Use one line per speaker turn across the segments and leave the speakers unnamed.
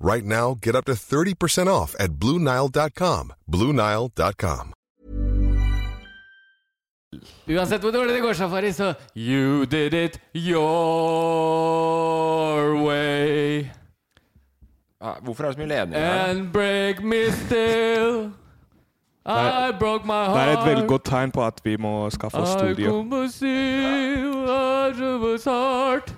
Right now, get up to 30% off at BlueNile.com. BlueNile.com.
Uansett hvor dårlig det går, Safari, så You did it your way
Ja, Ah, Hvorfor er det så mye ledninger her?
And break me still I broke my
Det
heart
er et veldig godt tegn på at vi må skaffe oss
I
studio.
come to see what it was heart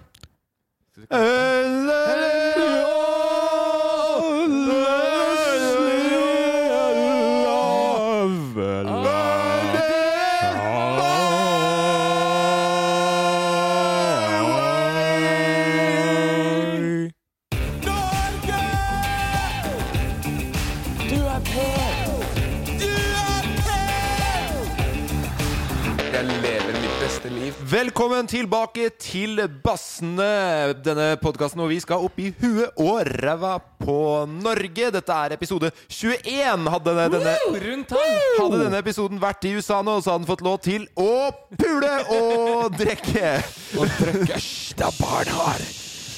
Jeg lever mitt beste liv. Velkommen tilbake til Bassene. Denne podkasten hvor vi skal opp i huet og ræva på Norge. Dette er episode 21. Hadde denne, denne
Rundt han
hadde denne episoden vært i USA nå, så hadde han fått lov til å pule og drikke. Og drikke. Det er barn her.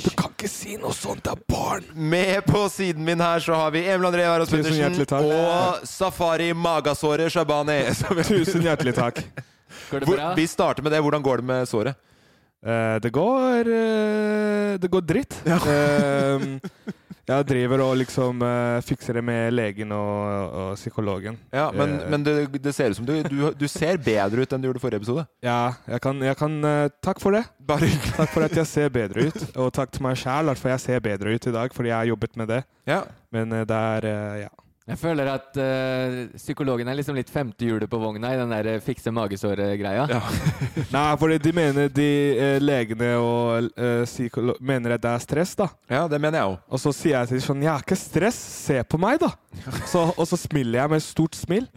Du kan ikke si noe sånt. Det er barn. Med på siden min her så har vi Emil André Aros
Tusen
Pedersen
hjertelig takk.
og Safari Magasåret Shabani. Som vi,
Tusen hjertelig takk.
Går det
hvor,
bra?
vi starter med det. Hvordan går det med såret?
Eh, det går eh, Det går dritt. Eh, jeg driver og liksom eh, fikser det med legen og, og psykologen.
Ja, Men,
Eh,
men det, det ser ut som du, du, du ser bedre ut enn du gjorde i forrige episode.
Ja, jeg kan, jeg kan eh, Takk for det.
Bare
Takk for at jeg ser bedre ut. Og takk til meg sjæl for jeg ser bedre ut i dag, fordi jeg har jobbet med det.
Ja.
Men eh, det er eh, Ja.
Jeg føler at eh, psykologen er liksom litt femte hjulet på vogna I den der eh, fikse magesåret-greia
Nei, fordi de mener de eh, legene og eh, psykolo- mener at det er stress, da.
ja, det mener jeg òg.
Og så sier jeg til dem sånn Jeg har ikke stress, se på meg, da. Så, og så smiler jeg med et stort smil.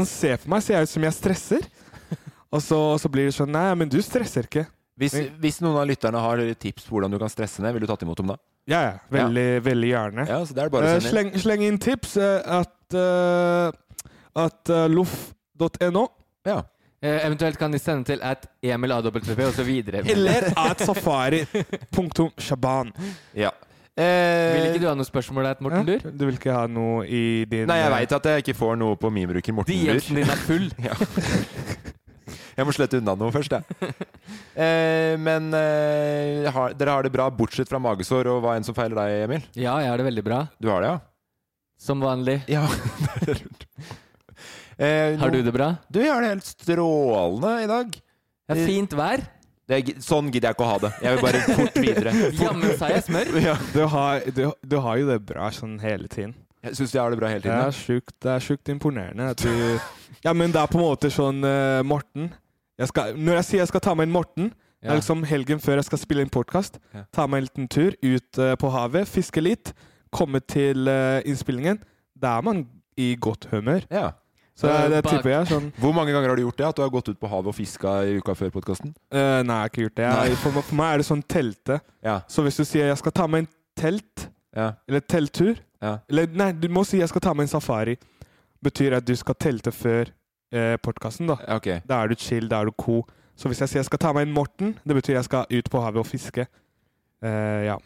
Sånn, se på meg, ser jeg ut som jeg stresser? Og så, og så blir det sånn Nei, men du stresser ikke.
Hvis, hvis noen av lytterne har tips på hvordan du kan stresse ned, vil du tatt imot dem da?
Ja, ja. Veldig, veldig gjerne.
Ja, så det er det bare
Eh,
å sende inn.
sleng, sleng inn tips eh, at eh, At eh, loff.no
Ja.
Eh, Eventuelt kan de sende til at Emil AWP og så videre
eller at safari.shaban.
Ja. Eh,
Vil ikke du ha noen spørsmål der, Morten Lur?
Du vil ikke ha noe i din
Nei, jeg
eh,
veit at jeg ikke får noe på min bruker Morten
DM-en
Lur.
din er full
Jeg må slette unna noe først, jeg. Eh, men eh, har, dere har det bra, bortsett fra magesår og hva enn som feiler deg, Emil?
Ja, jeg har det veldig bra
Du har det,
Som vanlig
ja? Ja, det er lurt. Eh,
Har du det bra?
Du, jeg har det helt strålende i dag.
Det er fint vær
Det, er- sånn gidder jeg ikke å ha det. Jeg vil bare fort videre. Fort.
Jammen sa jeg smør
Ja.
Du har, du, du har jo det bra sånn hele tiden.
Jeg syns jeg har det bra hele
Det
tiden.
er sjukt, det er sjukt imponerende at du Ja, men det er på en måte sånn eh, Morten jeg skal, Når jeg sier jeg skal ta med en Morten Det
Ja.
er liksom helgen før jeg skal spille inn podkast.
Ja.
Ta meg en liten tur ut eh, på havet, fiske litt, komme til eh, innspillingen. Da er man i godt humør.
Ja.
Så det, er- det
Bak-
tipper jeg. sånn
Hvor mange ganger har du gjort det? At du har gått ut på havet og fiska i uka før podkasten?
eh, Nei, jeg har ikke gjort det. Jeg, for, meg- for meg er det sånn telte.
Ja.
Så hvis du sier jeg skal ta med en telt,
ja.
eller telttur
Ja.
Eller nei, du må si jeg skal ta med en safari. betyr at du skal telte før eh, podkasten, da.
Ok.
Da er du chill, da er du co. Så hvis jeg sier jeg skal ta meg en Morten, det betyr jeg skal ut på havet og fiske. Eh, ja.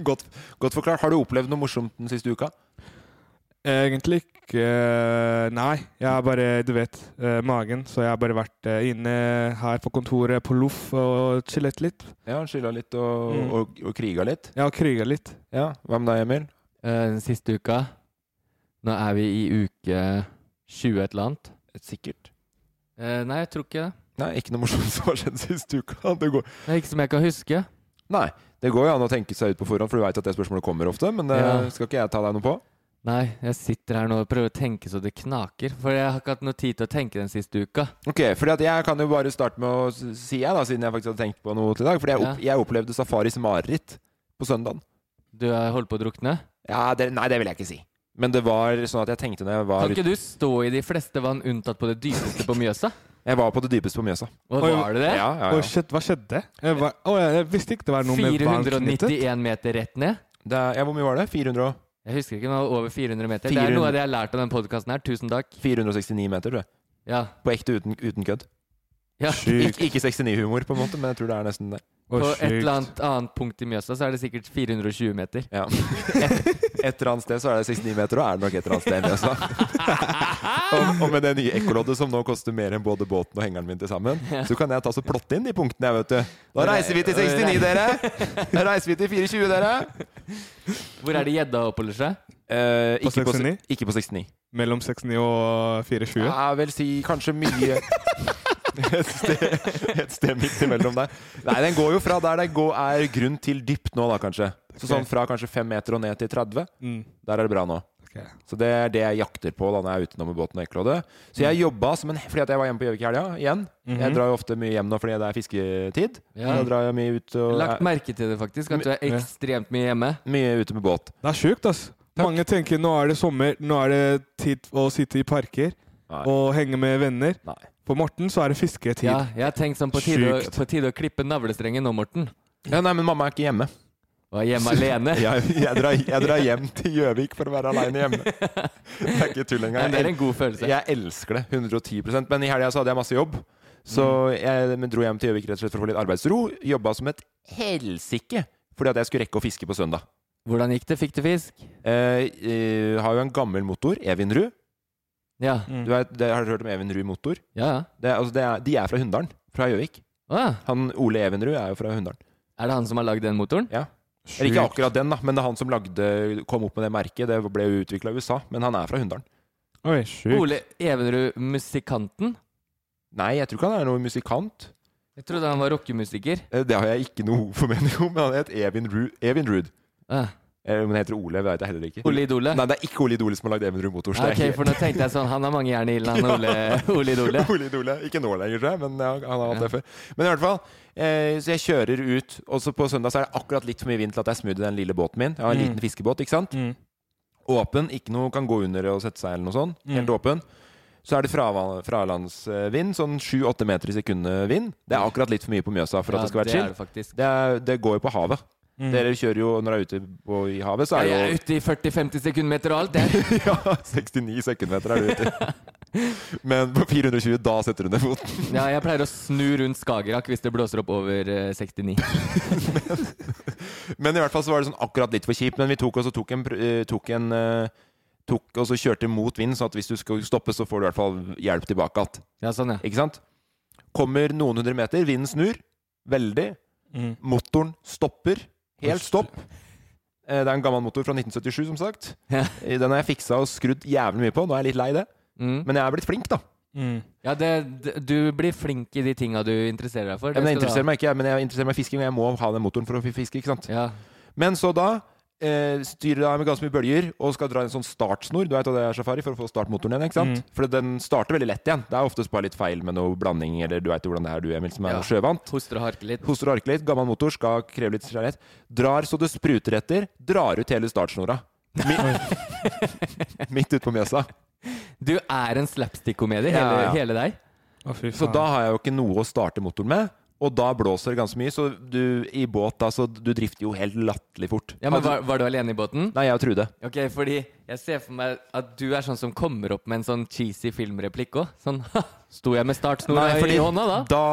Godt, godt forklart. Har du opplevd noe morsomt den siste uka?
Egentlig ikke eh, Nei. Jeg har bare, du vet, eh, magen. Så jeg har bare vært eh, inne her på kontoret på loff og chillet litt.
Ja, Skylda litt og,
Mm.
og, og kriga litt.
Ja, og kriga litt.
Ja, Hva med deg, Emil?
Eh, den siste uka Nå er vi i uke 20 et eller annet.
Sikkert.
Eh, nei, jeg tror ikke det.
Nei, ikke noe morsomt som har skjedd siste uka. Det går,
Det er ikke som jeg kan huske.
nei, det går jo an å tenke seg ut på forhånd, for du veit at det spørsmålet kommer ofte. Men det
Ja.
skal ikke jeg ta deg noe på.
Nei, jeg sitter her nå og prøver å tenke så det knaker. For jeg har ikke hatt noe tid til å tenke den siste uka.
Ok, fordi at Jeg kan jo bare starte med å s- si jeg, da, siden jeg faktisk hadde tenkt på noe til i dag. Fordi jeg, opp, jeg opplevde safaris mareritt på søndagen.
Du har holdt på å drukne.
Ja, det, nei, det vil jeg ikke si. Men det var sånn at jeg tenkte når jeg
Kan
var ute
ikke du stå i de fleste vann unntatt på det dypeste på Mjøsa?
Jeg var på det dypeste på Mjøsa.
Og
Oi,
var det det?
Ja, ja,
Oi,
ja.
shit, hva skjedde? Jeg, var, å, jeg, jeg visste ikke det var noe med vann knyttet.
491 meter rett ned.
Det, er- ja hvor mye var det? 400 og
Jeg husker ikke, men det var over 400 meter. Det er
400.
noe av det jeg har lært av den podkasten her. Tusen takk.
469 meter, tror jeg.
Ja.
På ekte, uten, uten kødd.
ja.
Ik ikke 69-humor, på en måte, men jeg tror det er nesten det.
Å,
På et
sjukt.
eller annet annet punkt i Mjøsa så er det sikkert 420 meter.
Ja. Et, et eller annet sted så er det 69 meter, og er det nok et eller annet sted i Mjøsa. Og, og med det nye ekkoloddet som nå koster mer enn både båten og hengeren min til sammen, så kan jeg ta så plotte inn de punktene, jeg, vet du. Da reiser vi til 69, dere! Da reiser vi til 420, dere!
Hvor er det gjedda oppholder seg?
Eh,
På
ikke, på,
69?
se- ikke på 69.
Mellom 69 og 420.
Jeg vil si kanskje mye et, sted, et sted midt imellom der. Nei, den går jo fra der det går, er grunn til dypt nå, da kanskje. Så sånn fra kanskje fem meter og ned til 30.
Mm.
Der er det bra nå.
Ok.
Så det er det jeg jakter på da når jeg er utenom med båten og ekkeloddet. Så
Mhm.
jeg jobba som en Fordi at jeg var hjemme på Gjøvik i helga igjen. Jeg drar jo ofte mye hjem nå fordi det er fisketid.
Ja.
Da drar jeg mye ut og
Lagt merke til det, faktisk. At du er ekstremt mye hjemme.
er Mye ute med båt.
Det er sjukt, ass. Mange tenker nå er det sommer, nå er det tid å sitte i parker
Nei.
og henge med venner.
Nei.
For Morten så er det fisketid.
Ja, jeg har tenkt sånn på tide, å,
Sjukt.
på tide å klippe navlestrengen nå, Morten.
Ja, nei, men mamma er ikke hjemme.
Og er hjemme alene.
Jeg, jeg, drar, jeg drar hjem til Gjøvik for å være aleine hjemme. Det er ikke tull engang.
Men det er en god følelse.
Jeg elsker det. 110 Men i helga så hadde jeg masse jobb. Så
Mhm.
jeg men dro hjem til Gjøvik rett og slett for å få litt arbeidsro. Jobba som et helsike fordi at jeg skulle rekke å fiske på søndag.
Hvordan gikk det? Fikk du fisk?
Eh, eh, har jo en gammel motor, Evinrud.
Ja.
Du vet, det, har du hørt om Evinrud motor?
Ja, ja.
Det, er- altså det er, de er fra Hunndalen, fra Gjøvik.
Å, ja.
Han Ole Evinrud er jo fra Hunndalen.
Er det han som har lagd den motoren?
Ja. Eller ikke akkurat den, da, men det er han som lagde, kom opp med det merket. Det ble jo utvikla i USA, men han er fra Hunndalen.
Oi, sjukt.
Ole Evenrud, musikanten?
Nei, jeg tror ikke han er noen musikant.
Jeg trodde han var rockemusiker.
Eh, Det har jeg ikke noe formening om, men han het Evinrud. Evinrud.
Ah.
Eh, Men det heter Ole, vet jeg heller ikke.
Ole Idole?
Nei, det er ikke Ole Idole som har lagd Evenrud Motors.
Ah,
det er
Ok,
helt-
for nå tenkte jeg sånn Han har mange jern i ilden, han Ole, Ole Idole.
Ole Idole. Ikke nå lenger, tror jeg, men ja, han har hatt
Ja.
det før. Men i hvert fall, eh, så jeg kjører ut, og så på søndag så er det akkurat litt for mye vind til at jeg smoothie den lille båten min. Jeg har en liten fiskebåt, ikke sant?
Mm.
Åpen, ikke noe kan gå under og sette seg eller noe sånt. Helt
Mm.
åpen. Så er det frava- fralandsvind, sånn 7-8 meter i sekundet vind. Det er akkurat litt for mye på Mjøsa for at det skal være
det
chill.
er Mm. det faktisk.
Det, er, det går jo på havet.
Mm.
Dere kjører jo når dere er ute på, i havet, så er
Jeg
det
er
jo
ute i 40-50 sekundmeter og alt, jeg.
ja, 69 sekundmeter er du ute i. Men på 420, da setter du ned foten.
Ja, jeg pleier å snu rundt Skagerrak hvis det blåser opp over eh, 69.
Men i hvert fall så var det sånn akkurat litt for kjipt. Men vi tok og så tok en, pr- eh, tok en eh, tok og så kjørte mot vind, sånn at hvis du skal stoppe, så får du i hvert fall hjelp tilbake igjen.
Ja, sånn, ja.
Ikke sant? Kommer noen hundre meter, vinden snur. Veldig.
Mm.
Motoren stopper. Helt stopp. Eh, Det er en gammel motor fra 1977, som sagt.
Ja.
Eh, Den har jeg fiksa og skrudd jævlig mye på. Nå er jeg litt lei det.
Mm.
Men jeg er blitt flink, da.
Mm.
ja det, d- du blir flink i de tinga du interesserer deg for. skal
Men jeg
du ha.
interesserer meg ikke, jeg, men jeg interesserer meg i fisking, og jeg må ha den motoren for å fiske. ikke sant?
Ja.
Men så da eh, styrer jeg med ganske mye bølger og skal dra en sånn startsnor du vet hva det er safari, for å få startmotoren igjen. ikke sant?
Mm.
For den starter veldig lett igjen. Det er oftest bare litt feil med noe blanding, eller du veit jo hvordan det er, du Emil, som er
Ja.
sjøvant.
Hoster og harker litt.
Hoster og harker litt, gammel motor, skal kreve litt kjærlighet. Drar så det spruter etter, drar ut hele startsnora. Mi Midt ute på Mjøsa.
Du er en slapstick-komedie, hele,
Ja, ja.
hele deg.
Å, fy faen.
Så da har jeg jo ikke noe å starte motoren med. Og da blåser det ganske mye, så du i båt da, så du drifter jo helt latterlig fort.
Ja, men
Hadde-
var, var du alene i båten?
Nei, jeg og Trude.
Ok, fordi jeg ser for meg at du er sånn som kommer opp med en sånn cheesy filmreplikk òg. Sånn ha, sto jeg med startsnora i hånda da?
Da,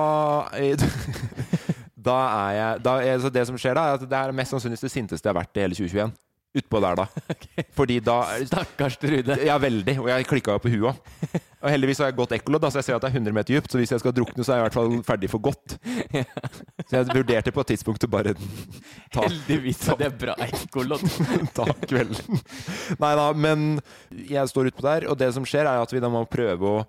eh, da er jeg da, er- Så det som skjer da, er at det er mest sannsynligvis det sinteste jeg har vært i hele 2021. Utpå der, da. Fordi da
Stakkars Trude.
Ja, veldig. Og jeg klikka jo på huet òg. Og heldigvis har jeg godt ekkolodd, da, så jeg ser at det er 100 meter dypt. Så hvis jeg skal drukne, så er jeg i hvert fall ferdig for godt. Så jeg vurderte på et tidspunkt å bare ta,
Heldigvis at det er bra ekkolodd.
ta kvelden. Nei da, men jeg står utpå der, og det som skjer, er at vi da må prøve å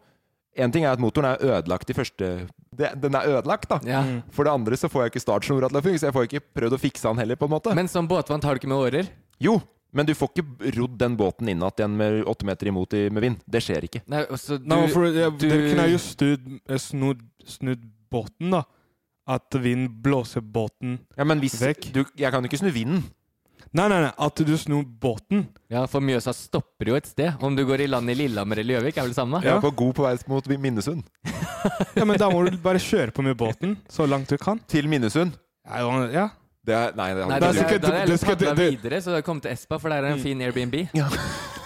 En ting er at motoren er ødelagt i første det, Den er ødelagt, da.
Ja.
Mm.
For det andre så får jeg ikke startsnora til å funke, så jeg får ikke prøvd å fikse den heller, på en måte.
Men som båtvant har du ikke med årer?
jo, men du får ikke rodd den båten inn igjen med åtte meter imot i, med vind. Det skjer ikke.
Nei, også du,
Nei, men for, ja,
du
Dere kunne jo snudd, eh, snudd, snudd båten, da. At vind blåser båten
Ja, men hvis
Vekk.
du, Jeg kan jo ikke snu vinden.
Nei, nei, nei, at du snur båten.
Ja, for Mjøsa stopper jo et sted. Om du går i land i Lillehammer eller Gjøvik, er vel det samme?
Jeg er på god på vei mot Minnesund.
Ja, men da må du bare kjøre på med båten så langt du kan.
Til Minnesund.
Ja, jo, ja.
Det er, nei, det
Nei,
hadde
da
det
ikke
er
da- da
du.
sikkert-
hadde jeg
det
heller
skal-
padla
det- Mm.
videre, så da kom til Espa, for der er en fin Airbnb.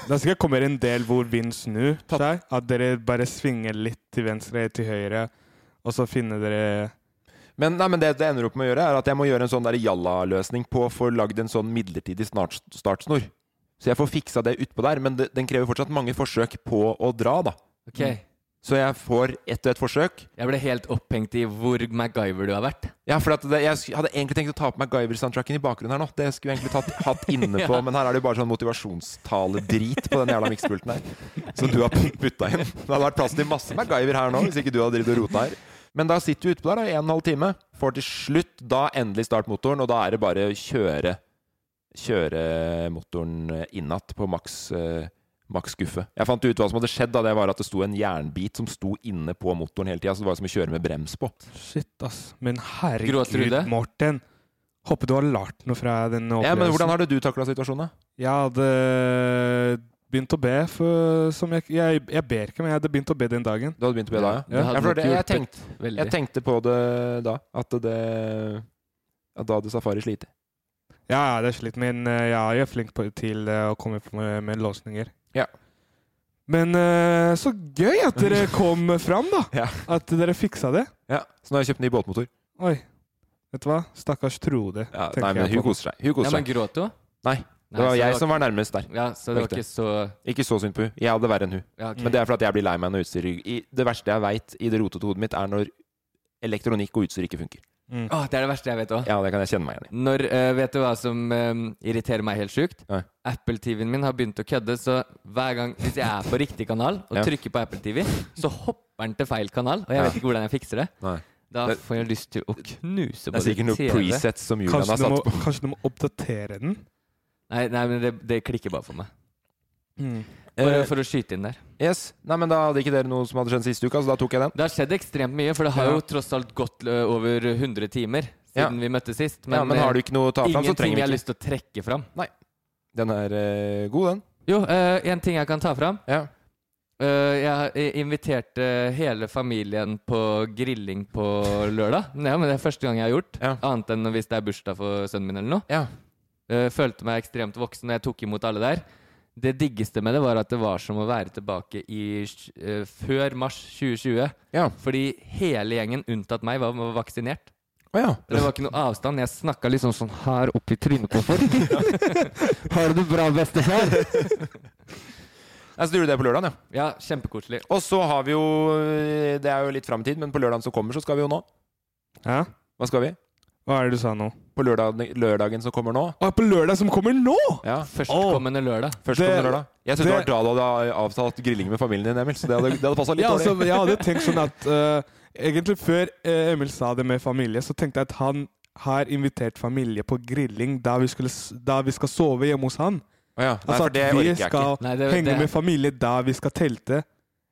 Da sikkert kommer en del hvor vind snur seg. At dere bare svinger litt til venstre, til høyre, og så finner dere
Men, nei, men det det ender opp med å gjøre, er at jeg må gjøre en sånn der jalla-løsning på å få lagd en sånn midlertidig snart, startsnor. Så jeg får fiksa det utpå der, men det, den krever fortsatt mange forsøk på å dra, da.
Ok, Jeg
Så jeg får ett og ett forsøk.
ble helt opphengt i hvor MacGyver du har vært.
Ja, for at det, jeg sk- hadde egentlig tenkt å ta på MacGyver-soundtracken i bakgrunnen her nå. Det skulle jeg egentlig tatt, hatt inne på, men her er det jo bare sånn motivasjonstale-drit på den jævla mikspulten her. Som du har putta inn. Det hadde vært plass til masse MacGyver her nå, hvis ikke du hadde drevet og rota her. Men da sitter du utpå der da, i en og en halv time. Får til slutt da endelig start motoren, og da er det bare å kjøre Kjøre motoren innatt på maks eh, maks skuffe. Jeg fant ut hva som hadde skjedd da det var at det sto en jernbit som sto inne på motoren hele tida, så det var som å kjøre med brems på.
Shit, ass. Men
Gråt
herregud,
Trude?
Morten. Håper du har lært noe fra den opplevelsen.
Ja, men hvordan har du takla situasjonen, da?
Jeg hadde begynt å be, for, som jeg, jeg, jeg ber ikke, men jeg hadde begynt å be den dagen.
Du hadde begynt å be da, ja?
Det hadde
ja for
nok
det, jeg,
hjulpet
tenkte,
veldig.
jeg tenkte på det da, at det at da hadde Safari slitt.
Ja, ja, det er slitt, men eh, ja, jeg er flink på, til eh, å komme opp med, med låsninger.
Ja.
Men eh, så gøy at dere kom fram, da!
Ja.
At dere fiksa det.
Ja, så nå har jeg kjøpt ny båtmotor.
Oi. Vet du hva? Stakkars Trude.
Ja,
tenker
nei, men
jeg
hun
på.
koser seg. Hun
Ja,
koser
men
seg.
gråt du?
Nei,
Nei,
det
så
var
det
jeg
var
som var nærmest der.
Ja, så det var ikke så
Ikke så synd på hun. Jeg hadde verre enn hun.
ja, ok.
Men det er fordi at jeg blir lei meg når utstyr i- Det verste jeg veit i det rotete hodet mitt, er når elektronikk og utstyr ikke funker.
Mm.
Åh, det er det verste jeg vet òg.
Ja, det kan jeg kjenne meg igjen i.
Når, eh, vet du hva som eh, irriterer meg helt sjukt?
Nei.
Apple TV-en min har begynt å kødde, så hver gang hvis jeg er på riktig kanal og
Ja.
trykker på Apple TV, så hopper den til feil kanal, og jeg
Ja.
vet ikke hvordan jeg fikser det.
Nei.
Da
Det-
får jeg lyst til å knuse på
Det er sikkert noen
TV.
presets som Julian
Kanskje
har
du,
satt
må,
på.
kanskje du må oppdatere den?
Nei, nei, men det, det klikker bare for meg. Bare
Eh,
for å skyte inn der.
yes. Nei, men da hadde ikke dere noe som hadde skjedd sist uke, så da tok jeg den.
Det har skjedd ekstremt mye, for det har
Ja.
jo tross alt gått ø, over 100 timer
Ja.
siden vi møttes sist.
Men, ja, men har du ikke noe å ta fram, så
eh, ingenting
trenger vi
jeg har
ikke.
lyst til å trekke fram.
Den er eh, god, den.
Jo, ø, en ting jeg kan ta fram.
Ja.
Ø, jeg eh, inviterte hele familien på grilling på lørdag. Ja, men Det er første gang jeg har gjort.
Ja.
Annet enn hvis det er bursdag for sønnen min eller noe.
ja.
Ø, følte meg ekstremt voksen da jeg tok imot alle der. Det diggeste med det var at det var som å være tilbake i, sj- ø, før mars 2020.
Ja.
Fordi hele gjengen unntatt meg var, var vaksinert.
Å ja.
Det var ikke noe avstand. Jeg snakka liksom sånn her oppi trynet på folk. Har du det bra, bestefar?
Ja, så du gjorde det på lørdagen, ja.
Ja, kjempekoselig.
Og så har vi jo eh, Det er jo litt fram i tid, men på lørdagen som kommer, så skal vi jo nå.
Ja?
Hva skal vi?
Hva er det du sa nå?
På lørdagen, lørdagen som kommer nå?
Å, på lørdag som kommer nå!
Ja.
Førstkommende lørdag.
Førstkommende
Det-
lørdag. Jeg trodde det
det-
var da du hadde eh, avtalt grilling med familien din, Emil. Så det hadde, det hadde passa litt
Ja, altså,
dårlig.
jeg hadde tenkt sånn at eh, Egentlig før eh, Emil sa det med familie, så tenkte jeg at han har invitert familie på grilling da vi, skulle, s- da vi skal sove hjemme hos han.
Å ja. Nei,
Altså
for det
at
orker
vi
jeg ikke.
skal
Nei, det-
henge
det-
med familie da vi skal telte.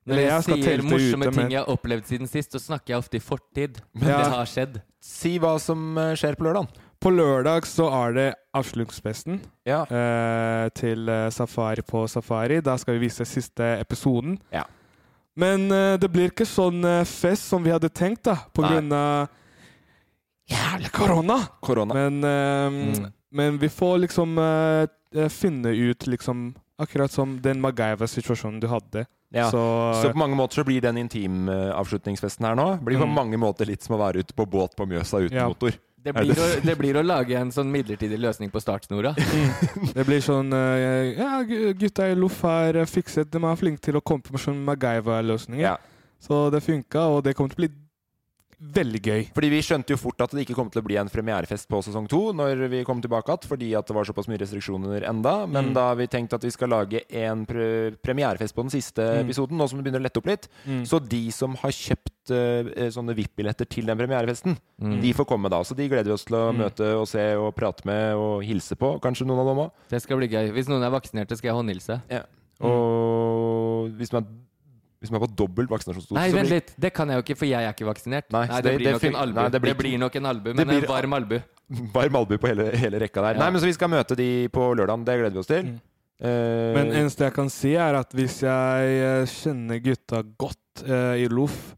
Når
Eller
jeg
jeg skal
sier
telte
morsomme
ute, men-
ting jeg har opplevd siden sist, så snakker jeg ofte i fortid. Men
Ja.
det har skjedd.
Si hva som eh, skjer på lørdagen.
På lørdag så er det avslutningsfesten
Ja.
eh, til eh, Safari på Safari. Da skal vi vise siste episoden.
Ja.
Men eh, det blir ikke sånn eh, fest som vi hadde tenkt, da, på
Nei.
grunn av Jævla korona!
Korona.
Men, eh,
Mm.
men vi får liksom eh, eh, finne ut liksom Akkurat som den Magaiva-situasjonen du hadde.
Ja.
Så,
Så på mange måter så blir den intimavslutningsfesten her nå Blir på
Mm.
mange måter litt som å være ute på båt på Mjøsa uten
Ja.
motor.
Det
Er
blir,
det-
å, det blir å lage en sånn midlertidig løsning på startsnora.
det blir sånn eh, Ja, gu- gutta i loff har eh, fikset De er flinke til å komme på sånne Magaiva-løsninger.
Ja.
Så det funka, og det kommer til å bli veldig gøy.
Fordi vi skjønte jo fort at det ikke kom til å bli en premierefest på sesong to når vi kom tilbake igjen, fordi at det var såpass mye restriksjoner enda. Men
Mm.
da har vi tenkt at vi skal lage en pre premierefest på den siste
Mm.
episoden, nå som det begynner å lette opp litt. Så de som har kjøpt eh, sånne VIP-billetter til den premierefesten,
Mm.
de får komme da. Så de gleder vi oss til å
Mm.
møte og se og prate med og hilse på, kanskje noen av dem òg.
Det skal bli gøy. Hvis noen er vaksinerte, skal jeg håndhilse.
Og hvis man, hvis man er på dobbelt vaksinasjonsdose
Nei,
så
vent
blir-
litt! Det kan jeg jo ikke, for jeg er ikke vaksinert.
Nei, så
det,
det-
blir
det
nok
fin-
en albu.
nei,
det,
det blir-
blir nok en albu, men
blir-
en varm albu.
Varm albu på hele, hele rekka der.
Ja.
Nei, men Så vi skal møte de på lørdagen. Det gleder vi oss til.
Mm.
Eh,
Men eneste jeg kan si, er at hvis jeg eh, kjenner gutta godt eh, i loff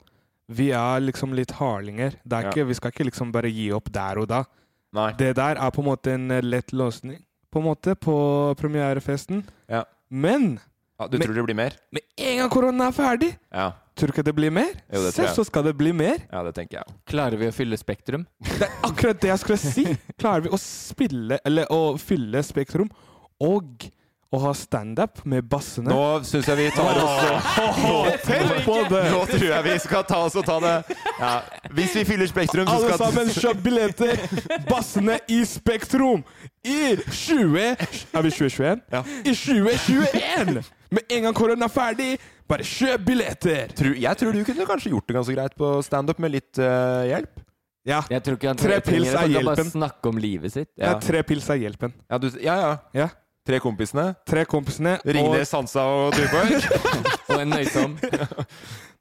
Vi er liksom litt harlinger. Det er
Ja.
ikke, vi skal ikke liksom bare gi opp der og da.
Nei.
Det der er på en måte en eh, lett løsning på en måte, på premierefesten.
Ja.
Men
Ja, du
Men-
tror det blir mer?
med en gang koronaen er ferdig,
Ja,
tror du ikke det blir mer?
Jo, det tror
Selv
jeg.
så skal det bli mer.
ja det tenker jeg.
Klarer vi å fylle Spektrum?
Det er akkurat det jeg skulle si! Klarer vi å spille, eller å fylle Spektrum og å ha standup med bassene?
Nå syns jeg vi tar oss
tenk på det!
Nå tror jeg vi skal ta oss og ta det ja. Hvis vi fyller Spektrum, så
Alle
skal
sammen, kjøp billetter! Bassene i Spektrum! I 20... Er vi 2021?
Ja.
I 2021! Med en gang korona er ferdig, bare kjøp billetter!
Tru- Jeg tror du kunne kanskje gjort det ganske greit på standup med litt eh, hjelp.
Ja.
Jeg tror ikke han
Tre
trenger
pils
det.
er
Han kan bare
hjelpen.
snakke om livet sitt.
Det
Ja.
er tre pils av hjelpen.
Ja, du, ja, ja.
Ja.
Tre kompisene.
Tre kompisene og
Ringnes, Hansa og Tuborg.
Og en nøysom.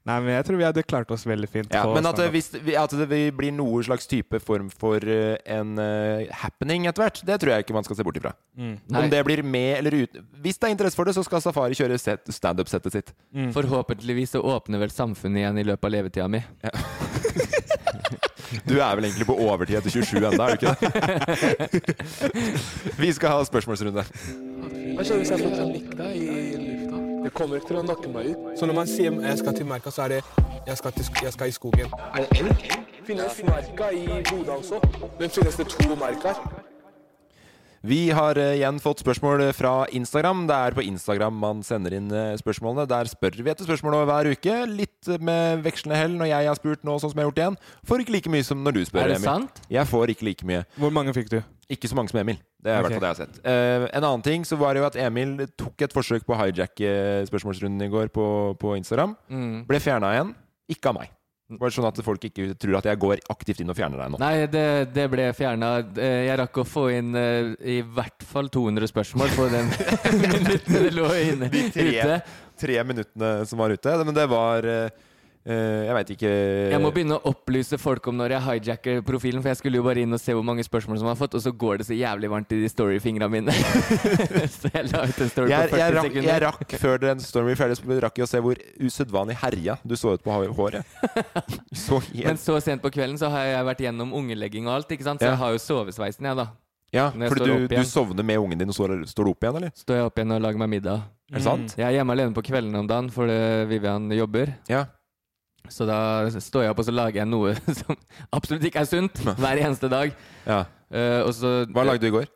Nei, men jeg tror vi hadde klart oss veldig fint.
Ja,
på
men at eh, det,
standup.
hvis, vi- at det vi blir noe slags type form for eh, en eh, happening etter hvert, det tror jeg ikke man skal se bort ifra.
Mm. Nei,
Om det blir med eller uten Hvis det er interesse for det, så skal Safari kjøre set- standup-settet sitt.
forhåpentligvis så åpner vel samfunnet igjen i løpet av levetida mi.
Du er vel egentlig på overtid etter 27 ennå, er du ikke det? Vi skal ha spørsmålsrunde.
Så når man sier jeg skal til merka, så er det jeg skal, til, jeg skal i skogen. Er det elg? Finnes merka i Bodø også? Men finnes det to merker?
Vi har eh, igjen fått spørsmål fra Instagram. Det er på Instagram man sender inn eh, spørsmålene. Der spør vi etter spørsmål hver uke. Litt eh, med vekslende hell når jeg har spurt nå, sånn som jeg har gjort igjen. Får ikke like mye som når du spør,
Er det
Emil.
sant?
Jeg får ikke like mye.
Hvor mange fikk du?
Ikke så mange som Emil. Det er i
Ok.
hvert fall det jeg har sett. Eh, en annen ting så var det jo at Emil tok et forsøk på å hijacke spørsmålsrunden i går på, på Instagram.
Mm.
Ble fjerna igjen. Ikke av meg. Bare sånn at folk ikke tror at jeg går aktivt inn og fjerner deg nå.
Nei, det, det ble fjerna. Jeg rakk å få inn eh, i hvert fall 200 spørsmål på den minutten det lå inne
De tre.
ute.
Tre minuttene som var ute. Men det var eh, eh, Jeg veit ikke
Jeg må begynne å opplyse folk om når jeg hijacker profilen, for jeg skulle jo bare inn og se hvor mange spørsmål som har fått, og så går det så jævlig varmt i de story-fingra mine. så jeg la ut en story
jeg,
på
jeg,
40
rakk,
sekunder.
jeg rakk før den storyen ble ferdig, så rakk jeg å se hvor usedvanlig herja du så ut på ha- håret. Så
Men
helt
så sent på kvelden så har jeg vært gjennom ungelegging og alt, ikke sant? så
Ja.
jeg har jo sovesveisen, jeg, da.
Ja,
Når jeg
fordi
står
du,
opp
du
igjen.
sovner med ungen din, og så står du opp igjen, eller?
Står jeg opp igjen og lager meg middag.
Er det sant?
Jeg er hjemme alene på kvelden om dagen fordi Vivian jobber.
Ja.
Så da står jeg opp og så lager jeg noe som absolutt ikke er sunt, hver eneste dag.
Ja.
Eh, og så
Hva lagde du i går?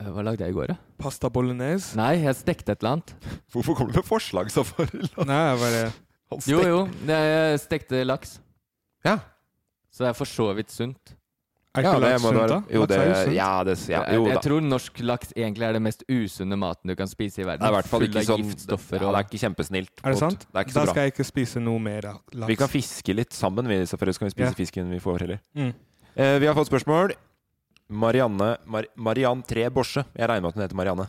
Eh, Hva lagde jeg i går, da?
Mm.
Pasta bolognese?
Nei, jeg stekte et eller annet.
Hvorfor kommer du med forslag, Safari?
Nei, jeg bare
Jo, jo. Jeg stekte laks.
Ja.
Så det er for så vidt sunt.
Er ikke laks sunt, da?
Jo,
Laks
det,
er jo sunt.
ja, det, ja,
Jeg-
jo
jeg
da.
tror norsk laks egentlig er det mest usunne maten du kan spise i verden.
Det er i hvert fall
Full
ikke
av
sånn
giftstoffer
ja,
og
Det er ikke kjempesnilt.
Er det sant?
Det er ikke
Da
så bra.
skal jeg ikke spise noe mer av laks.
Vi kan fiske litt sammen, vi, Safari. Så kan vi spise
Ja.
fisken vi får, heller.
Mm.
Eh, vi har fått spørsmål. Marianne Mar Mariann 3 Borse. Jeg regner med at hun heter Marianne.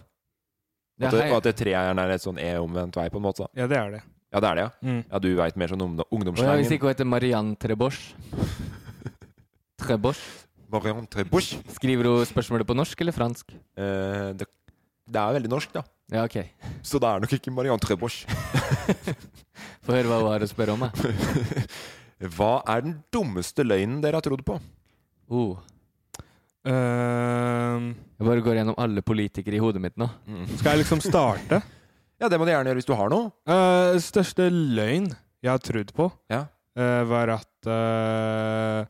Ja,
At det,
hei.
og at det treeren er et sånn E-omvendt vei, på en måte. Da.
Ja, det er det.
Ja, det er det, ja.
Mm.
Ja, Du veit mer sånn
Og
ungdom-
ja, hvis
ungdomsslangen.
ikke hun heter Marianne Trebosch Trebosch?
Marianne 3 Borse.
Skriver hun spørsmålet på norsk eller fransk?
Eh, det, det er veldig norsk, da.
Ja, ok.
Så det er nok ikke Marianne 3 Borse.
Få høre hva hun har å spørre om. Jeg.
Hva er den dummeste løgnen dere har trodd på?
Oh.
Ehm,
Jeg bare går gjennom alle politikere i hodet mitt nå.
skal jeg liksom starte?
Ja, det må du gjerne gjøre hvis du har noe.
Eh, største løgn jeg har trodd på,
Ja.
eh, var at eh,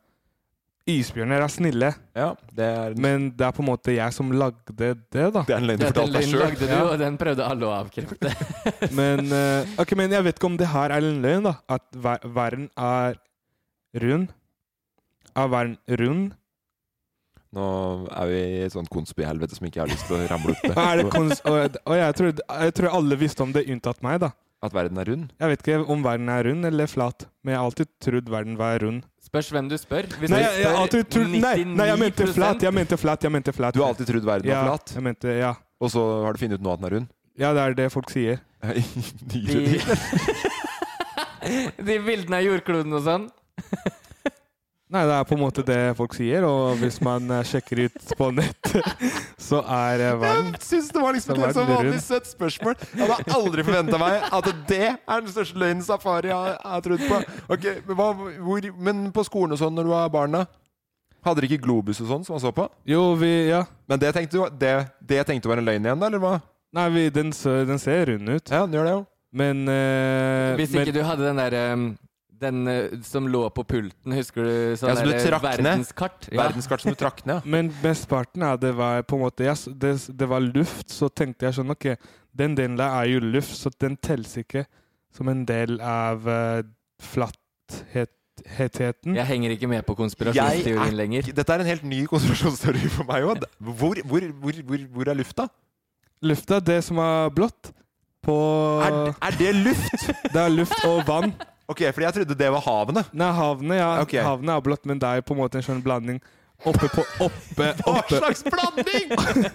isbjørner er snille.
Ja, det er,
Men det er på en måte jeg som lagde det, da.
er en løgn
Den løgnen lagde du,
Ja.
og den prøvde alle å avkrefte.
Men, eh, ok, men jeg vet ikke om det her er en løgn, da. At ver verden er rund. Er verden rund?
Nå er vi i et sånt konspihelvete som ikke jeg har lyst til å ramle ut
Er det
med.
kons og, og jeg, tror, jeg tror alle visste om det, unntatt meg, da.
At verden er rund.
Jeg vet ikke om verden er rund eller flat, men jeg har alltid trodd verden var rund.
Spørs hvem du spør. Hvis
Nei,
du
jeg, jeg, har alltid
spør
trodd- nei, nei, jeg mente
99%
flat. Jeg mente flat. Jeg mente flat.
Du har alltid trodd verden
ja,
er flat,
Jeg mente, ja.
og så har du funnet ut nå at den er rund?
ja, det er det folk sier.
De-
de, de bildene av jordkloden og sånn.
Nei, det er på en måte det folk sier, og hvis man eh, sjekker ut på nettet, så er eh, verden
Jeg syns det var liksom et
Den
litt sånn
verden er
vanlig
rund.
søtt spørsmål. Jeg hadde aldri forventa meg at det er den største løgnen safari har, har trodd på. Ok, men, hva, hvor, men på skolen og sånn når du var barn, da? Hadde dere ikke Globus og sånn som man så på?
Jo, vi Ja.
Men det tenkte du, det, det tenkte du var en løgn igjen, da? Eller hva?
Nei, vi, den, ser- den ser rund ut,
Ja, den gjør det jo.
men eh,
Hvis
men,
ikke du hadde den der um, Den eh, som lå på pulten, husker du? Sånn
Ja, som du
der, eh,
trakk ned.
verdenskart. Ja.
Verdenskart som du trakk ned.
men mesteparten av det var på en måte jeg, s- det, det var luft, så tenkte jeg sånn OK, den delen der er jo luft, så den telles ikke som en del av uh, flattheten.
Jeg henger ikke med på
Jeg er
konspirasjonsteorien lenger.
Dette er en helt ny konspirasjonsteori for meg òg. Hvor, hvor, hvor, hvor, hvor er lufta?
Lufta, det som er blått på
Er, er det luft?
Det er luft og vann.
Ok, fordi jeg trodde det var havene.
Nei, havnet, ja.
Ok.
Havnet er blått, men det er på en måte en sånn blanding. Oppe på oppe,
Hva
oppe.
slags blanding?!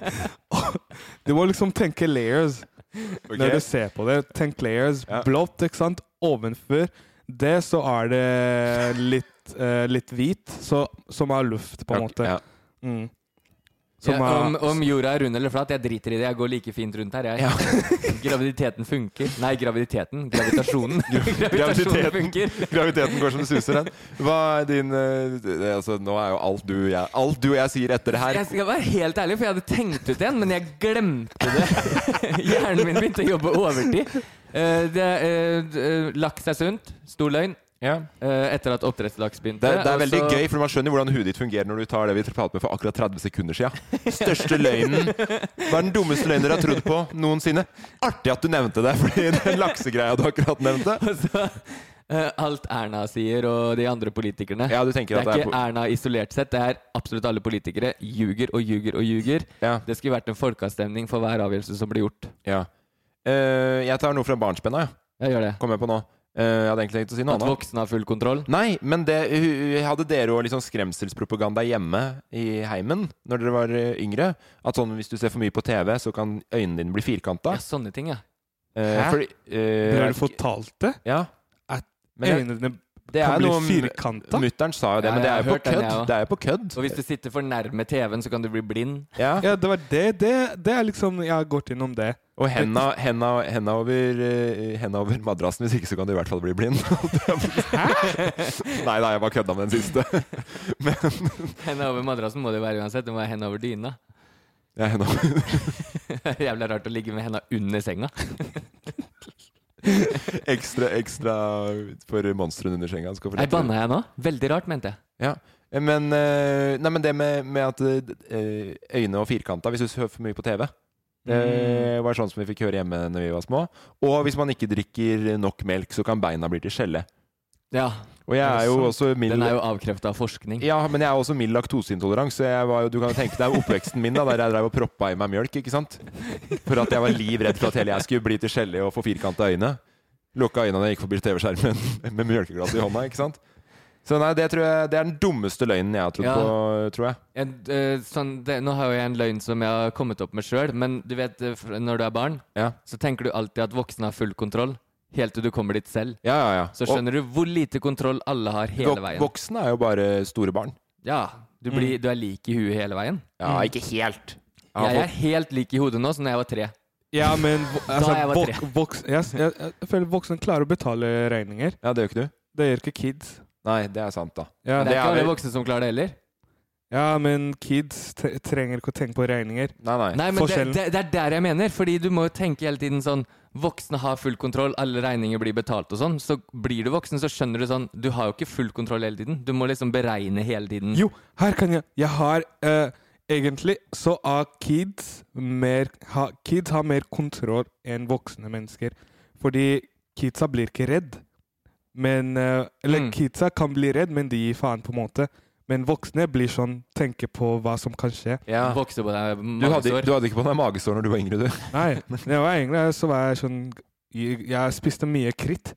Du må liksom tenke layers når du ser på det. Tenk layers.
Ja.
Blått, ikke sant? Ovenfor det så er det litt, eh, litt hvit, så, som er luft, på en måte.
Ja.
Mm. Som
Ja, om,
er
om jorda er rund eller flat, jeg driter i det. Jeg går like fint rundt her, jeg. Graviditeten funker. Nei, graviditeten. Gravitasjonen. Gravitasjonen
Graviditeten.
funker.
Graviteten går som det suser hen. Hva er din eh, det- altså, Nå er jo alt du og jeg, alt du og jeg sier etter det her
Jeg skal være helt ærlig, for jeg hadde tenkt ut en, men jeg glemte det. Hjernen min begynte å jobbe overtid. Eh, det, eh, d- eh, laks er sunt. Stor løgn. Eh, etter at oppdrettslaks begynte.
det, er- det er
og
veldig
så-
gøy, for man skjønner hvordan hudet ditt fungerer når du tar det vi pratet med for akkurat 30 sekunder siden. Største løgnen. Hva er den dummeste løgnen dere har trodd på noensinne? Artig at du nevnte det, fordi den laksegreia du akkurat nevnte
Og så, eh, alt Erna sier, og de andre politikerne.
Ja, du tenker
det
at
er
det er
ikke
po-
Erna isolert sett. Det er absolutt alle politikere. Ljuger og ljuger og ljuger.
Ja.
Det skulle vært en folkeavstemning for hver avgjørelse som blir gjort.
ja. Eh, jeg tar noe fra barnsbenna, jeg.
Jeg gjør det.
Kommer jeg på nå. Eh, jeg hadde egentlig tenkt å si noe
At
annet.
voksne har full kontroll.
Nei, men det, hu- hadde dere òg liksom skremselspropaganda hjemme i heimen når dere var eh, yngre? At sånn hvis du ser for mye på TV, så kan øynene dine bli firkanta?
Ja, sånne ting, ja.
Eh,
Hæ?
fordi, eh,
Ble du fortalt det?
Ja.
At
Men det,
Øynene
det
kan
er
bli
noe
firkanta?
Mutter'n sa jo det,
Ja,
men det
jeg
er
har
jo på
hørt den,
kødd.
jeg også.
Det er jo på kødd.
Og hvis du sitter for nærme TV-en, så kan du bli blind.
Ja.
Ja, det var det. Det, det er liksom Jeg har gått innom det.
Og henda, henda, henda, over, eh, henda over madrassen, hvis ikke så kan du i hvert fall bli blind. nei, nei, jeg bare kødda med den siste.
Henda over madrassen må det jo være uansett. Det må være henda over dyna.
Ja, henda over.
Jævla rart å ligge med henda under senga.
Ekstra, ekstra for monstrene under senga. skal få
Nei,
lett-
banna jeg nå? Veldig rart, mente jeg.
Ja, men, eh, nei, men det med, med at eh, øyne og firkanta hvis du hører for mye på TV Det
Mm.
var sånn som vi fikk høre hjemme når vi var små. Og hvis man ikke drikker nok melk, så kan beina bli til skjelle.
Ja,
Og jeg er jo også mild
Den er jo avkrefta av forskning.
ja, men jeg er også mild laktoseintolerant, så jeg var jo, du kan jo tenke deg oppveksten min da, der jeg drev og proppa i meg mjølk, ikke sant? For at jeg var livredd for at hele jeg skulle bli til skjellig og få firkanta øyne. Lukka øynene da jeg gikk forbi TV-skjermen med mjølkeglasset i hånda, ikke sant? Så nei, det tror jeg det er den dummeste løgnen jeg har trodd
Ja.
på, tror jeg.
En, eh, sånn, det, nå har jo jeg en løgn som jeg har kommet opp med sjøl, men du vet eh, fr- når du er barn,
Ja,
så tenker du alltid at voksne har full kontroll, helt til du kommer dit selv.
ja, ja. ja.
Så skjønner du hvor lite kontroll alle har
Og
hele
vok-
veien.
Voksne er jo bare store barn.
Ja, du, blir, du er lik i huet hele veien.
Ja, ikke helt. Mm. Ja,
Jeg
vok-
er helt lik i hodet nå som da jeg var tre.
Ja, men vo- altså,
jeg var
vok,
tre.
voks, jeg, jeg, jeg føler voksne klarer å betale regninger.
ja det gjør ikke du?
Det gjør ikke kids.
Nei, det er sant, da.
Ja,
Men det er
det er
ikke alle
vel-
voksne som klarer det heller.
Ja, men kids te trenger ikke å tenke på regninger.
Nei, nei.
Nei, men det,
Forskjellen.
det, det er der jeg mener. Fordi du må jo tenke hele tiden sånn Voksne har full kontroll, alle regninger blir betalt og sånn. Så blir du voksen, så skjønner du sånn Du har jo ikke full kontroll hele tiden. Du må liksom beregne hele tiden.
Jo, her kan jeg Jeg har eh, Egentlig så har kids mer ha, Kids har mer kontroll enn voksne mennesker. Fordi kidsa blir ikke redd. Men eh, Eller
Mm.
kidsa kan bli redd, men de gir faen, på en måte. Men voksne blir sånn Tenker på hva som kan skje.
Ja. Vokse på deg
Du hadde,
magesår.
du hadde ikke på deg magesår når du var yngre, du.
Nei, det var egentlig så var jeg sånn Jeg, jeg spiste mye kritt.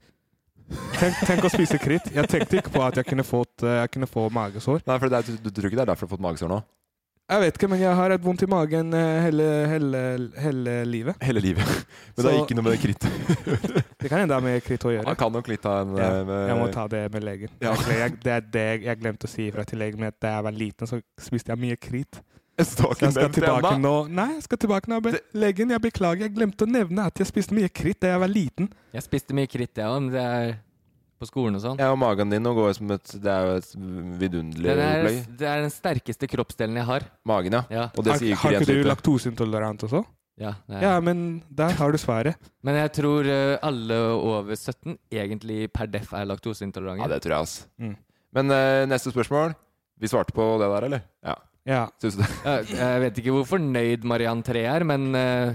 Tenk, tenk å spise kritt. Jeg tenkte ikke på at jeg kunne, fått, eh, jeg kunne få magesår.
Nei, for det er, du, du tror ikke det er derfor du har fått magesår nå?
Jeg vet ikke, men jeg har hatt vondt i magen eh, hele, hele, hele livet.
Hele livet. Men det er
Så-
ikke noe med det krittet.
Det kan hende det har med kritt å gjøre.
Han kan nok litt av en
Ja,
eh, med-
Jeg må ta det med legen.
Ja.
Jeg, jeg, det er det jeg glemte å si ifra til legen. men Da jeg var liten, så spiste jeg mye kritt.
Jeg står
Så
ikke
jeg skal
nevnt
tilbake
ennå.
nå. Nei, jeg skal tilbake nå. men Legen, jeg beklager. Jeg glemte å nevne at jeg spiste mye kritt da jeg var liten.
Jeg spiste mye kritt, jeg òg, men det er på skolen og sånn.
Ja, og magen din nå går jo som et Det er jo et vidunderlig
Det er,
opplegg.
det er den sterkeste kroppsdelen jeg har.
Magen, ja.
Ja.
Og det
Har,
sier ikke
har ikke du
jenter.
laktoseintolerant også?
ja, det er.
Ja, men der har du svaret.
Men jeg tror eh, alle over 17 egentlig per deff er laktoseintolerante.
Ja, det tror jeg, altså.
Mm.
Men eh, neste spørsmål. Vi svarte på det der, eller? Ja.
Ja.
Syns du det?
Ja, Jeg vet ikke hvor fornøyd Mariann 3 er, men eh,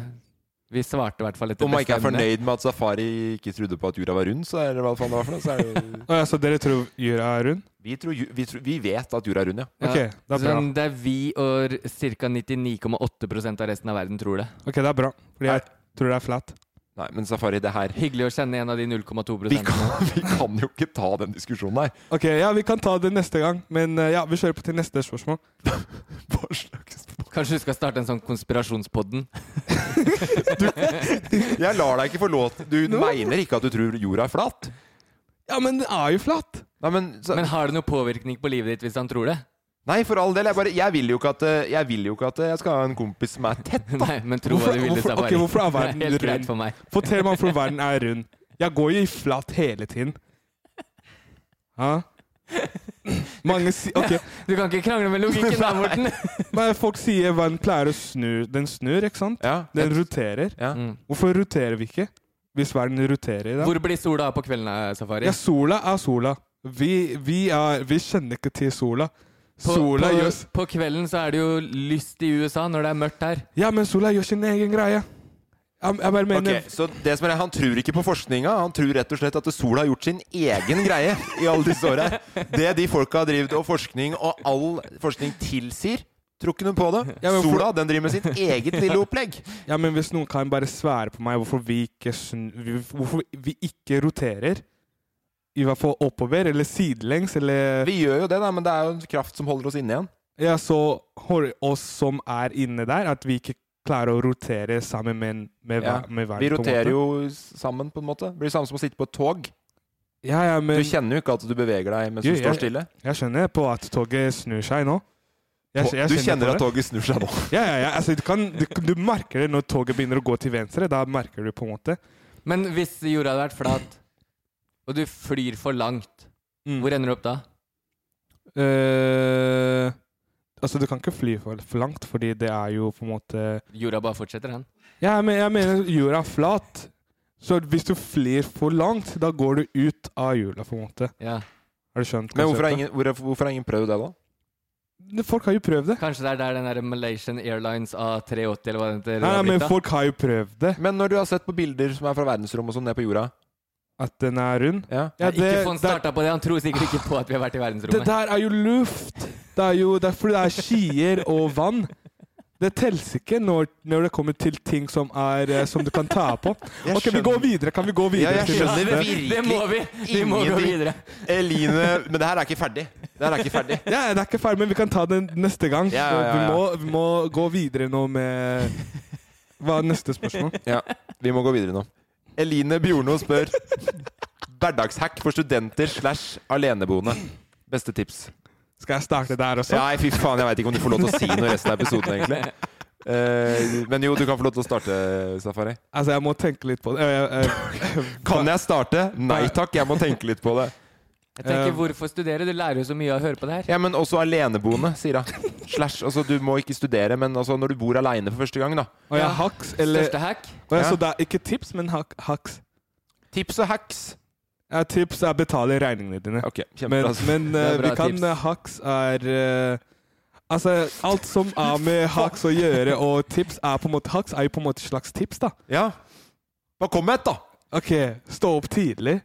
vi svarte i hvert fall etter
Om man ikke er
beste evne.
fornøyd med at Safari ikke trodde på at jorda var rund, så er det hva faen det var for noe. Så er det jo...
Å, ja, så dere tror jorda er rund?
vi, tror, ju- vi, tror, vi vet at jorda er rund, ja.
Ja.
Ok, det er bra.
Men det er vi og ca. 99,8 av resten av verden tror det.
Ok, det er bra. Fordi jeg tror det er flatt.
Nei, men Safari, det her
Hyggelig å kjenne en av de 0,2
vi kan, vi kan jo ikke ta den diskusjonen her.
Ok, ja, vi kan ta det neste gang. Men eh, ja, vi kjører på til neste spørsmål.
Hva slags
Kanskje du skal starte en sånn konspirasjonspodden?
Jeg lar deg ikke få lov til Du mener ikke at du tror jorda er flat?
Ja, men det er jo flatt!
Nei, men, så,
Men har det noe påvirkning på livet ditt hvis han tror det?
nei for all del. Jeg, bare, jeg, vil jo ikke at, eh, jeg vil jo ikke at eh, jeg skal ha en kompis som er tett.
Nei, men tro
Hvorfor-
hva du vil.
hvorfor-
Safari.
ok, hvorfor er verden
det er helt
rund?
greit for meg.
Fortell meg hvorfor verden er rund. Jeg går jo i flatt hele tiden. Hæ? Mange si Ok,
Du kan ikke krangle med logikken der, Morten.
men folk sier verden pleier å snu. Den snur, ikke sant?
Ja,
Den roterer.
ja.
Mm.
Hvorfor roterer vi ikke? Hvis verden roterer i dag?
Hvor blir sola av på kvelden, eh, Safari?
Ja, sola er sola. Vi, vi, er, vi kjenner ikke til sola. Sola
på,
gjør
på, på kvelden så er det jo lyst i USA når det er mørkt her.
Ja, men sola gjør sin egen greie. Jeg, jeg bare mener
Ok, så det som er, Han tror ikke på forskninga. Han tror rett og slett at sola har gjort sin egen greie i alle disse åra. Det de folka har drevet og forskning, og all forskning tilsier, tror ikke noe på det.
Ja, men for-
Sola den driver med sitt eget lille opplegg.
Ja, men Hvis noen kan bare svære på meg hvorfor vi ikke, sn- vi- hvorfor vi ikke roterer I hvert fall oppover, eller sidelengs, eller
Vi gjør jo det, da, men det er jo en kraft som holder oss inne igjen.
Ja, så holder oss som er inne der, at vi ikke klarer å rotere sammen med, med,
Ja,
ver- med verden.
Vi
på en måte.
roterer jo sammen, på en måte. Det blir det samme som å sitte på et tog.
Ja, ja, men
Du kjenner jo ikke at du beveger deg mens du
Jo,
står
jeg-
stille.
jeg skjønner på at toget snur seg nå. Jeg- jeg
du
på
kjenner
det.
at toget snur seg nå.
Ja, ja, ja. Altså, du, kan, du, du merker det når toget begynner å gå til venstre. Da merker du på en måte.
Men hvis jorda hadde vært flat, og du flyr for langt,
Mm.
hvor ender du opp da?
Eh, altså, du kan ikke fly for, for langt, fordi det er jo på en måte
Jorda bare fortsetter, den.
Ja, men jeg mener jorda er flat. Så hvis du flyr for langt, da går du ut av hjula, på en måte.
Ja.
Har du skjønt?
Men hvorfor har
konseptet?
ingen, hvorfor, hvorfor har ingen prøvd det, da?
Folk har jo prøvd det.
Kanskje det er der den der Malaysian Airlines A380 eller hva den heter.
Nei,
har
nei, men
blitt, da?
folk har jo prøvd det.
Men når du har sett på bilder som er fra verdensrommet og sånn, ned på jorda
At den er rund.
ja.
Ja,
Nei, ikke få han
det,
starta på det. Han tror sikkert ikke på at vi har vært i
det
verdensrommet.
der er jo luft! Det er jo det er fordi det er skier og vann. Det telles ikke når, når det kommer til ting som, er, eh, som du kan ta på.
Jeg
Ok, vi går videre. Kan vi gå videre?
Ja, jeg
til
skjønner
neste?
virkelig
det må vi! Vi må gå
ingenting.
videre.
Eline Men det her er ikke ferdig. Det her er ikke ferdig.
Ja, det er ikke ferdig, men vi kan ta den neste gang.
Ja, ja, ja,
Vi,
ja.
må, vi må gå videre nå med Hva er neste spørsmål?
Ja, vi må gå videre nå. Eline Bjorno spør Hverdagshack for studenter slash aleneboende. Beste tips.
Skal jeg starte der også?
Nei, fy faen, jeg veit ikke om du får lov til å si noe resten av episoden, egentlig. Eh, men jo, du kan få lov til å starte, Safari.
Altså, jeg må tenke litt på det. Eh, eh,
Kan jeg starte? Nei takk, jeg må tenke litt på det.
Jeg tenker,
Eh,
Hvorfor studere? Du lærer jo så mye av å høre på det her.
Ja, men også aleneboende, sier hun. Slash, altså du må ikke studere, men altså når du bor aleine for første gang, da.
Og jeg
Ja.
hacks, eller
Største hack?
og jeg,
Ja.
Så det er ikke tips, men hack, hacks.
Tips og hacks.
Ja, tips er betale regningene dine.
Ok,
Men,
kjempebra.
men
Det er
eh,
bra
vi kan
tips.
eh, Hacks er eh, Altså, alt som er med hacks å gjøre, og tips er på en måte Hacks er jo på en måte et slags tips, da.
Ja. Bare kom med et, da!
OK, stå opp tidlig.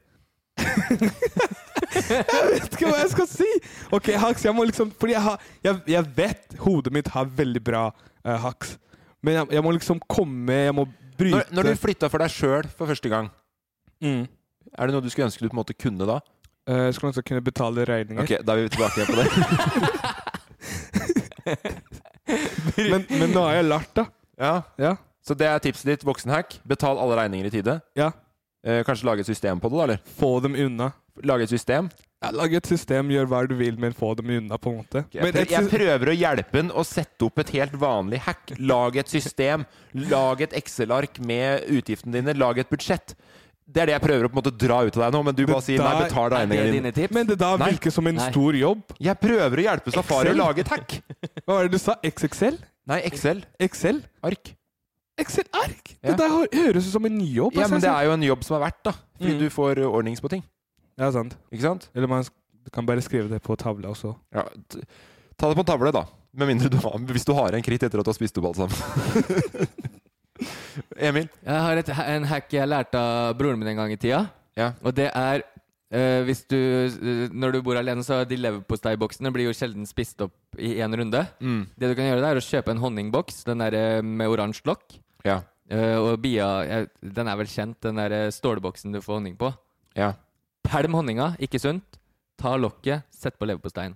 jeg vet ikke hva jeg skal si! OK, hacks. Jeg må liksom Fordi jeg, har, jeg, jeg vet hodet mitt har veldig bra eh, hacks. Men jeg, jeg må liksom komme Jeg må bryte
Når, når du flytta for deg sjøl for første gang,
mm.
er det noe du skulle ønske du på en måte kunne da?
Eh, Skulle man så kunne betale regninger.
Ok, da er vi tilbake igjen på det.
Men, men nå har jeg lært, da.
Ja,
Ja.
Så det er tipset ditt, voksenhack. Betal alle regninger i tide.
Ja.
Eh, kanskje lage et system på det, da? eller?
Få dem unna.
Lage et system.
Ja, Lag et system, gjør hva du vil, men få dem unna, på en måte.
Jeg,
Men
prø
et
jeg
sy-
prøver å hjelpe han å sette opp et helt vanlig hack. Lag et system. Lag et Excel-ark med utgiftene dine. Lag et budsjett. Det er det jeg prøver å på en måte dra ut av deg nå, men du
Det
bare sier nei,
der-
betal
Er det
regningene dine.
dine tips?
men det da
Nei.
virker som en
Nei.
stor jobb.
Jeg prøver å hjelpe Safari å
Excel?
lage et hack.
Hva var det du sa? XXL?
Nei, Excel-ark.
Excel? Excel-ark!
Ja.
Det der hø- høres ut som en jobb.
Ja,
altså,
men det
altså.
er jo en jobb som er verdt, da. Fordi
Mm.
du får uh, ordnings på ting.
Ja, sant.
Ikke sant?
Eller man sk- kan bare skrive det på tavla også.
Ja, t- ta det på en tavle, da. Med mindre du har Hvis du har en kritt etter at du har spist opp alt sammen. Emil?
Jeg har et, en hack jeg lærte av broren min en gang i tida.
Ja.
Og det er eh, hvis du, eh, Når du bor alene, så de leverposteiboksene blir jo sjelden spist opp i én runde.
Mm.
Det du kan gjøre, det er å kjøpe en honningboks, den der eh, med oransje lokk.
Ja.
Eh, og bia jeg- Den er vel kjent, den der eh, stålboksen du får honning på.
Ja.
Pælm honninga, ikke sunt. Ta lokket, sett på leverposteien.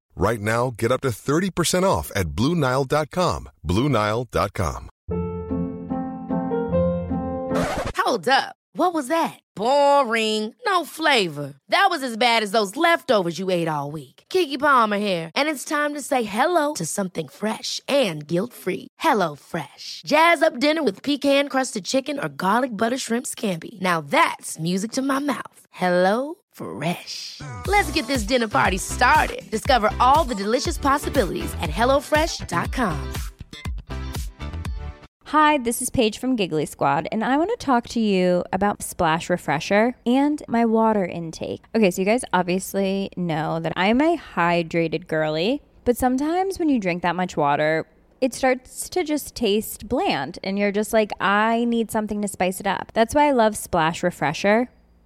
Right now, get up to 30% off at BlueNile.com. BlueNile.com.
Hold up. What was that? Boring. No flavor. That was as bad as those leftovers you ate all week. Kiki Palmer here, and it's time to say hello to something fresh and guilt-free. Hello Fresh. Jazz up dinner with pecan-crusted chicken or garlic butter shrimp scampi. Now that's music to my mouth. Hello Fresh. Let's get this dinner party started. Discover all the delicious possibilities at hellofresh.com.
Hi, this is Paige from Giggly Squad, and I want to talk to you about Splash Refresher and my water intake. Okay, so you guys obviously know that I'm a hydrated girly, but sometimes when you drink that much water, it starts to just taste bland, and you're just like, I need something to spice it up. That's why I love Splash Refresher.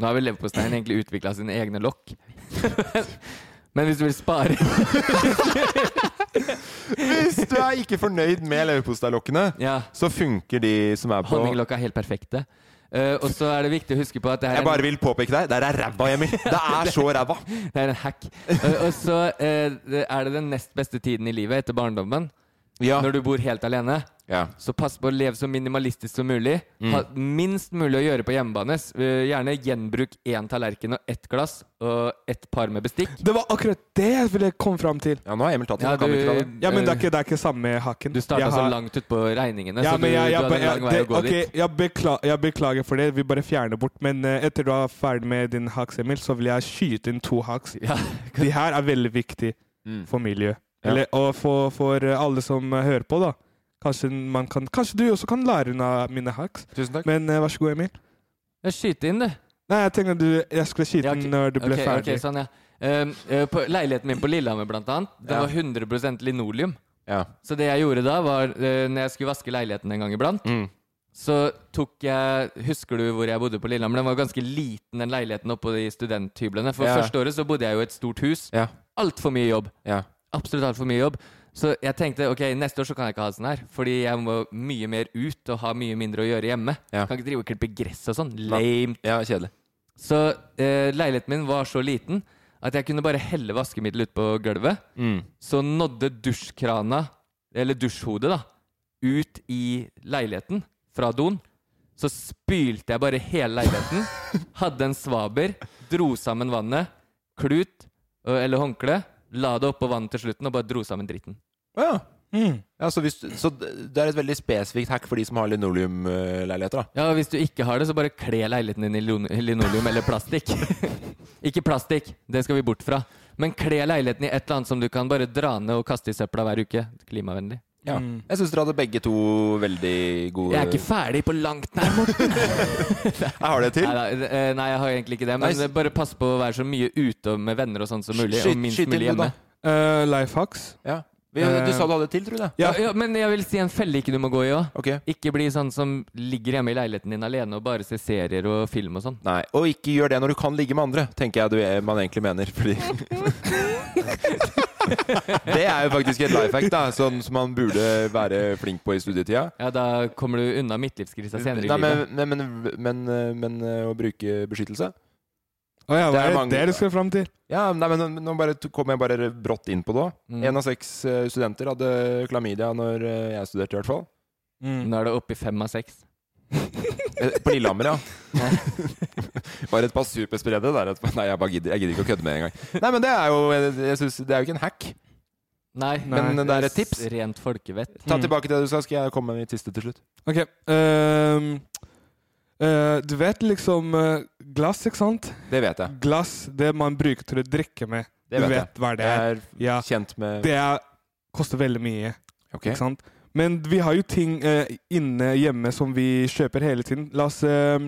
Nå har vel leverposteien egentlig utvikla sine egne lokk. Men hvis du vil spare
Hvis du er ikke fornøyd med leverposteilokkene,
Ja.
så funker de som er på
Honninglokka er helt perfekte. Eh, og så er det viktig å huske på at det her
Jeg
er
bare
en,
vil påpeke deg, der er ræva, Emil! Det er så ræva!
det er en hack. Eh, og så eh, det er det den nest beste tiden i livet etter barndommen.
Ja.
Når du bor helt alene. Så pass på å leve så minimalistisk som mulig.
Mm.
Ha minst mulig å gjøre på hjemmebane. S- eh, Gjerne gjenbruk én tallerken og ett glass og ett par med bestikk.
Det var akkurat det jeg ville komme fram til.
Ja, nå har Emil tatt
Ja, du-
Ja, men det er ikke, det er ikke samme haken.
Eh. Du starta
Jeg
så
har-
langt ut på regningene,
Ja,
så du,
men jeg, jeg,
du hadde en lang vei
jeg,
å gå
det- ok,
dit.
jeg, bekla, jeg beklager for det. Vi bare fjerner bort. Men eh, etter du er ferdig med din haks, Emil, så vil jeg skyte inn to haks. De her er veldig viktig
Mm.
for miljøet.
Ja.
Eller, og for, for eh, alle som eh, hører på, da. Kanskje, man kan, kanskje du også kan lære unna mine haks.
Tusen takk.
Men eh, vær så god, Emil.
Jeg skyter Eh, inn, du.
Nei, jeg tenkte du, jeg skulle skyte den når du ble
Ok,
ferdig.
ok, sånn, ja. Ehm, eh, på leiligheten min på Lillehammer, blant annet, den
Ja.
var 100 linoleum.
Ja.
Så det jeg gjorde da, var eh, Når jeg skulle vaske leiligheten en gang iblant,
Mm.
så tok jeg Husker du hvor jeg bodde på Lillehammer? Den var ganske liten, den leiligheten oppå de studenthyblene. For
Ja.
første året så bodde jeg jo i et stort hus.
Ja.
Altfor mye jobb.
Ja.
Absolutt altfor mye jobb. Så jeg tenkte ok, neste år så kan jeg ikke ha sånn her. Fordi jeg må mye mer ut og ha mye mindre å gjøre hjemme.
Ja.
Kan ikke drive og klippe gress og sånn.
Nei.
Lame.
Ja, kjedelig.
Så eh, leiligheten min var så liten at jeg kunne bare helle vaskemiddel ut på gulvet.
Mm.
Så nådde dusjkrana, eller dusjhodet, da, ut i leiligheten fra doen. Så spylte jeg bare hele leiligheten. Hadde en svaber, dro sammen vannet, klut ø, eller håndkle, la det oppå vannet til slutten og bare dro sammen dritten.
Ja.
Mm.
Ja, så, hvis, du- så det er et veldig spesifikt hack for de som har linoleumleiligheter, da.
Ja, og Hvis du ikke har det, så bare kle leiligheten din i lino- linoleum eller plastikk. ikke plastikk, det skal vi bort fra. Men kle leiligheten i et eller annet som du kan bare dra ned og kaste i søpla hver uke. Klimavennlig.
Ja. Mm. Jeg syns dere hadde begge to veldig gode
Jeg er ikke ferdig på langt nær, Morten.
Jeg har det til.
Nei, da, eh, nei, jeg har egentlig ikke det. Men
Nei, s-
bare pass på å være så mye ute og med venner og sånn som mulig.
Skyt-
og minst
skyt inn
mulig
du,
hjemme.
da.
Eh.
Uh, life hacks.
Ja. Vi, du sa du hadde et til, tror jeg.
Ja. ja, Men jeg vil si en felle ikke du må gå i òg.
Ok.
Ikke bli sånn som ligger hjemme i leiligheten din alene og bare ser serier og film og sånn.
Nei, og ikke gjør det når du kan ligge med andre, tenker jeg du, eh, man egentlig mener. Fordi Det er jo faktisk et life hack, da, sånn som man burde være flink på i studietida.
Ja, Da kommer du unna midtlivskrisa senere i
Nei, men,
livet.
men, men, men, men eh, å bruke beskyttelse
Å ja, hva
Det er
er det
mange-
det du skal fram til?
Ja, nei, men nå bare, to- kommer jeg bare brått inn på det òg.
Mm.
Én av seks eh, studenter hadde klamydia når eh, jeg studerte, i hvert fall.
Mm.
Nå er det oppe i fem av seks.
Eh, På Lillehammer, ja. Bare et par superspredere der. etterpå. Nei, jeg, bare gidder, jeg gidder ikke å kødde med det engang. Nei, men det er jo eh, jeg synes, det er jo ikke en hack.
Nei,
Men
det er et tips.
Rent folkevett.
Ta
Mm.
tilbake det du sa, skal jeg komme med mitt siste til slutt.
Ok. ehm, eh, du vet liksom eh, glass, ikke sant?
Det vet jeg.
Glass, det man bruker til å drikke med.
Det
du
vet jeg.
vet hva det er.
Jeg er
Ja,
kjent med
det er, koster veldig mye,
Ok.
ikke sant? Men vi har jo ting eh, inne hjemme som vi kjøper hele tiden. La oss ehm,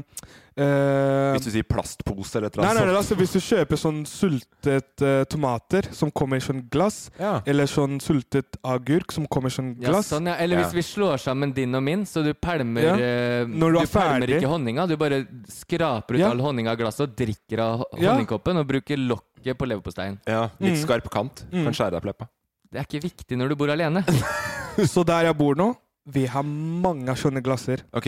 ehm,
Hvis du sier plastpose eller et
Nei,
eller
nei, nei,
annet
altså Hvis du kjøper sånn sultet eh, tomater som kommer i sånn glass,
Ja.
eller sånn sultet agurk som kommer i sånn
Ja,
glass
sånn, ja. Eller hvis
Ja.
vi slår sammen din og min, så du pælmer
Ja.
eh,
Når du er
pælmer
ferdig.
ikke honninga, du bare skraper ut
Ja.
all honninga av glasset og drikker av ho-
Ja.
honningkoppen og bruker lokket på leverposteien.
Ja, litt
Mm.
skarp kant.
Mm.
Kan skjære deg på leppa.
Det er ikke viktig når du bor alene.
Så der jeg bor nå, vi har mange av sånne glasser.
Ok,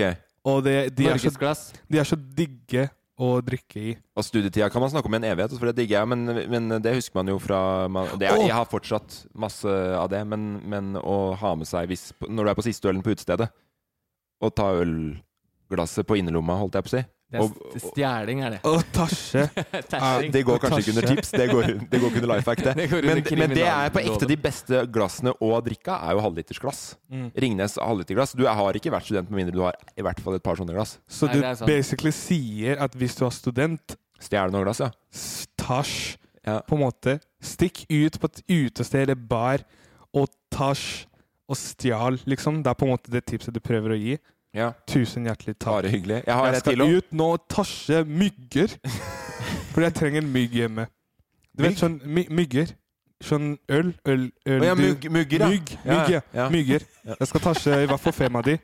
Og det, de, er så,
Norgesglass.
de er så digge å drikke i.
og studietida kan man snakke om i en evighet, og for det digger jeg, men, men det husker man jo fra man, det er,
Åh!
Jeg har fortsatt masse av det, men, men å ha med seg hvis, når du er på siste ølen på utestedet, og ta ølglasset på innerlomma, holdt jeg på å si.
Det er
Og-
st- stjeling, er det.
Å, tasje.
Tashing.
Ah, Det går kanskje ikke under
Tasje.
tips, det går, det går ikke under life hack, det.
Det går under
men, men det er på ekte
kriminalloven.
de beste glassene å drikke av, er jo halvlitersglass.
Mm.
Ringnes halvliterglass. Du har ikke vært student med mindre du har i hvert fall et par sånne glass.
Så
Nei,
du
det er sant.
basically sier at hvis du er student,
Stjel noen glass, ja.
s- tasj
Ja.
på en måte. Stikk ut på et utested eller bar og tasj og stjal, liksom. Det er på en måte det tipset du prøver å gi.
ja.
Tusen hjertelig takk.
Bare hyggelig. Jeg har
jeg
et til
skal
også.
ut nå og tasje mygger. Fordi jeg trenger en mygg hjemme. Du vet
Mygg?
sånn my mygger. Sånn øl, øl, øl
Å ja,
du-
mugg, mugger, ja.
Mygg,
Ja,
mygg, ja.
ja.
Mygger. Jeg skal tasje i hvert fall fem av de.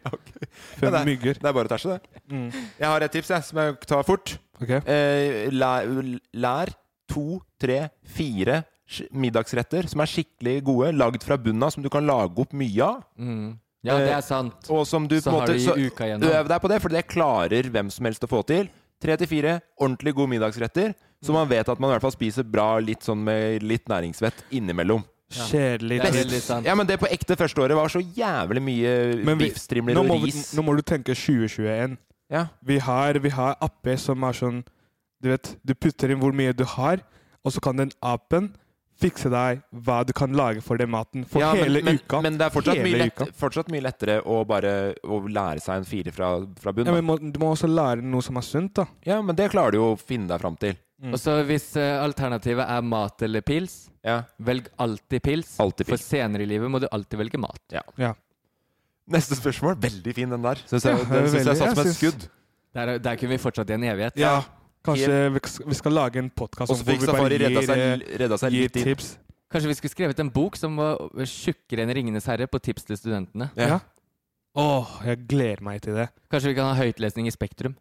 Fem
Ja,
mygger.
Det er bare å tæsje, det. Jeg har et tips jeg, som jeg tar fort.
Ok.
Eh, lær, lær to, tre, fire sk- middagsretter som er skikkelig gode, lagd fra bunnen av, som du kan lage opp mye av.
Mm. Ja, det er sant.
Og som du
Så har
på en måte
du i
så
uka igjen, da.
Øv deg på det, for det klarer hvem som helst å få til. Tre til fire ordentlig gode middagsretter, så man vet at man i hvert fall spiser bra litt sånn med litt næringsvett innimellom.
Kjedelig.
Best.
sånn
Ja, men det på ekte første året var så jævlig mye biffstrimler
nå
og
må vi-
ris.
Nå må du tenke 2021.
Ja.
Vi, har, vi har apper som er sånn Du vet, du putter inn hvor mye du har, og så kan den apen fikse deg hva du kan lage for den maten for
Ja, men-
hele
men,
uka.
Men det er fortsatt,
Hele
mye,
uka.
lett, fortsatt mye lettere å bare å lære seg en fire fra, fra
Ja,
bunnen.
men må, du må også lære noe som er sunt, da.
Ja, men det klarer du jo å finne deg fram til.
Mm.
Og så hvis eh, alternativet er mat eller pils, velg alltid pils. For senere i livet må du alltid velge mat.
Ja.
Neste spørsmål. Veldig fin, den der. Synes
Ja,
jeg, den
veldig.
syns jeg satt
Jeg
som et
synes-
skudd.
Der, der kunne vi fortsatt i en evighet.
Ja. Kanskje vi sk- vi skal lage en podkast
Og så fikk Safari redda seg- redda seg
gir
litt inn.
tips.
Kanskje vi skulle skrevet en bok som var tjukkere enn 'Ringenes herre' på tips til studentene.
Ja. Åh, jeg gleder meg til det.
Kanskje vi kan ha høytlesning i Spektrum.